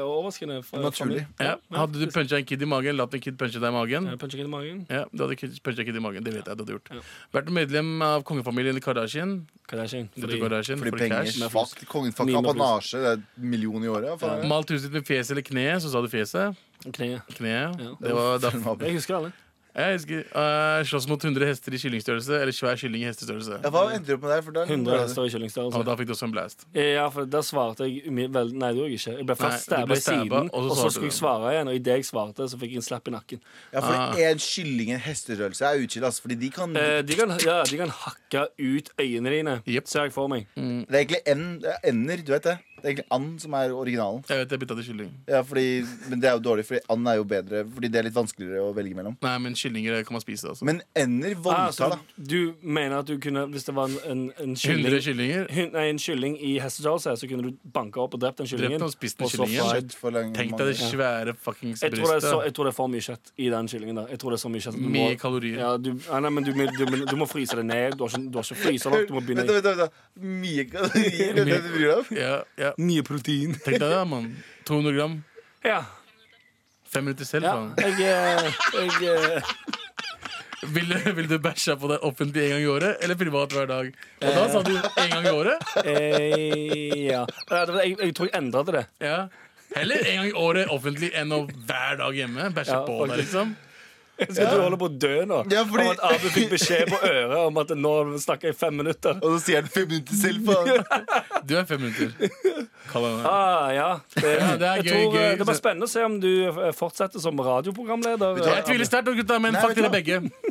C: overraskende fra-
B: Naturlig.
C: fra
E: Ja. Hadde du puncha en kid i magen, latt en kid punche deg i magen?
C: min. Jeg puncher ikke i magen.
E: Ja, du hadde kid- puncha en kid i magen. Det vet jeg at du hadde gjort. Vært medlem av kongefamilien eller Kardashian.
C: Kardashian.
E: Dette
C: Fordi-
E: Kardashian
B: Fordi
E: for
B: penger
E: cash.
B: Fuck, kongen fuck
C: Mine
B: apanasje. Det er en million i året. Faen.
E: Malt huset ditt med fjeset eller kneet, så sa du fjeset.
C: Kneet.
E: Kneet. Det var da
B: Abu.
C: Jeg husker alle.
E: Jeg husker eh, Slåss mot 100 hester i kyllingstørrelse eller svær kylling i hestestørrelse.
B: Ja, Hva endte du opp med der? For der
C: 100 hester i kyllingstørrelse.
E: Og da fikk du også en blast.
C: Eh, Ja, for da svarte jeg umi- vel, Nei, det gjorde jeg ikke. Jeg ble
E: Nei,
C: først
E: du ble
C: stabba i siden,
E: stabba, og
C: og
E: så svarte
C: så skulle jeg
E: du.
C: svare igjen. Og idet jeg svarte, så fikk jeg en slapp i nakken.
B: Ja, fordi en kylling i en hestestørrelse er utskilt, ass. Fordi de kan
C: Eh, de, kan, ja, de kan hakke ut øynene dine,
E: Jep.
C: ser jeg for meg.
B: Det er egentlig en, det er ender, du vet det. Det er egentlig and som er originalen.
E: Jeg vet jeg bytta til kylling.
B: Ja, fordi, men det er jo dårlig, fordi and er jo bedre Fordi det er litt vanskeligere å velge mellom.
E: Nei, men kyllinger kan man spise. altså
B: Men ender
C: Ah,
B: voldtar,
C: så
B: da.
C: du mener at du kunne, hvis det var en, en, en
E: 100
C: kylling
E: kyllinger.
C: hun- Nei, en kylling i hestesals her, så kunne du banka opp og drept den kyllingen.
E: Drept og spist den
C: og så
E: kyllingen.
C: fra-
B: Shit, for lang-
E: Tenk deg det
B: mange-
E: svære fuckings
C: Jeg tror, det er så,
E: brystet.
C: jeg tror det er for mye kjøtt i den kyllingen. da Jeg tror det er så mye kjøtt at du
E: Mye
C: må-
E: kalorier.
C: Ja, du, ja, nei, men du, må- du, må- du må fryse det ned. Du har ikke, du har ikke fryser nok. Du må
B: Vent,
C: begynne
B: vent, vent. vent. Mye kalorier, det er det du bryr deg om?
E: Ja, ja.
C: Mye protein.
E: Tenk deg det, mann. 200 gram.
C: Ja.
E: Fem minutter selv,
C: ja.
E: faen.
C: Jeg, eh, jeg eh,
E: Vil, vil du bæsje på deg offentlig en gang i året, eller privat hver dag? Og da sa du en gang i året?
C: eh, Ja. Ja, det var- Jeg, jeg tror jeg endra til det.
E: Ja. Heller en gang i året offentlig enn å hver dag hjemme. Bæsje
C: Ja,
E: på deg,
C: faktisk.
E: liksom.
C: Jeg skal tro du holder på å dø nå.
B: Ja, fordi-
C: Om at Abu fikk beskjed på øret om at nå snakker jeg i fem minutter.
B: Og så sier han fem minutter selv, faen.
E: Du er fem minutter. Kall meg det.
C: Ah, ja. Det,
E: det er
C: jeg
E: gøy,
C: tror, eh,
E: gøy.
C: Det blir spennende å se om du eh, fortsetter som radioprogramleder.
E: Jeg tviler sterkt på gutta, men
B: Nei,
E: fuck
B: vet
E: dere
B: du hva?
E: begge.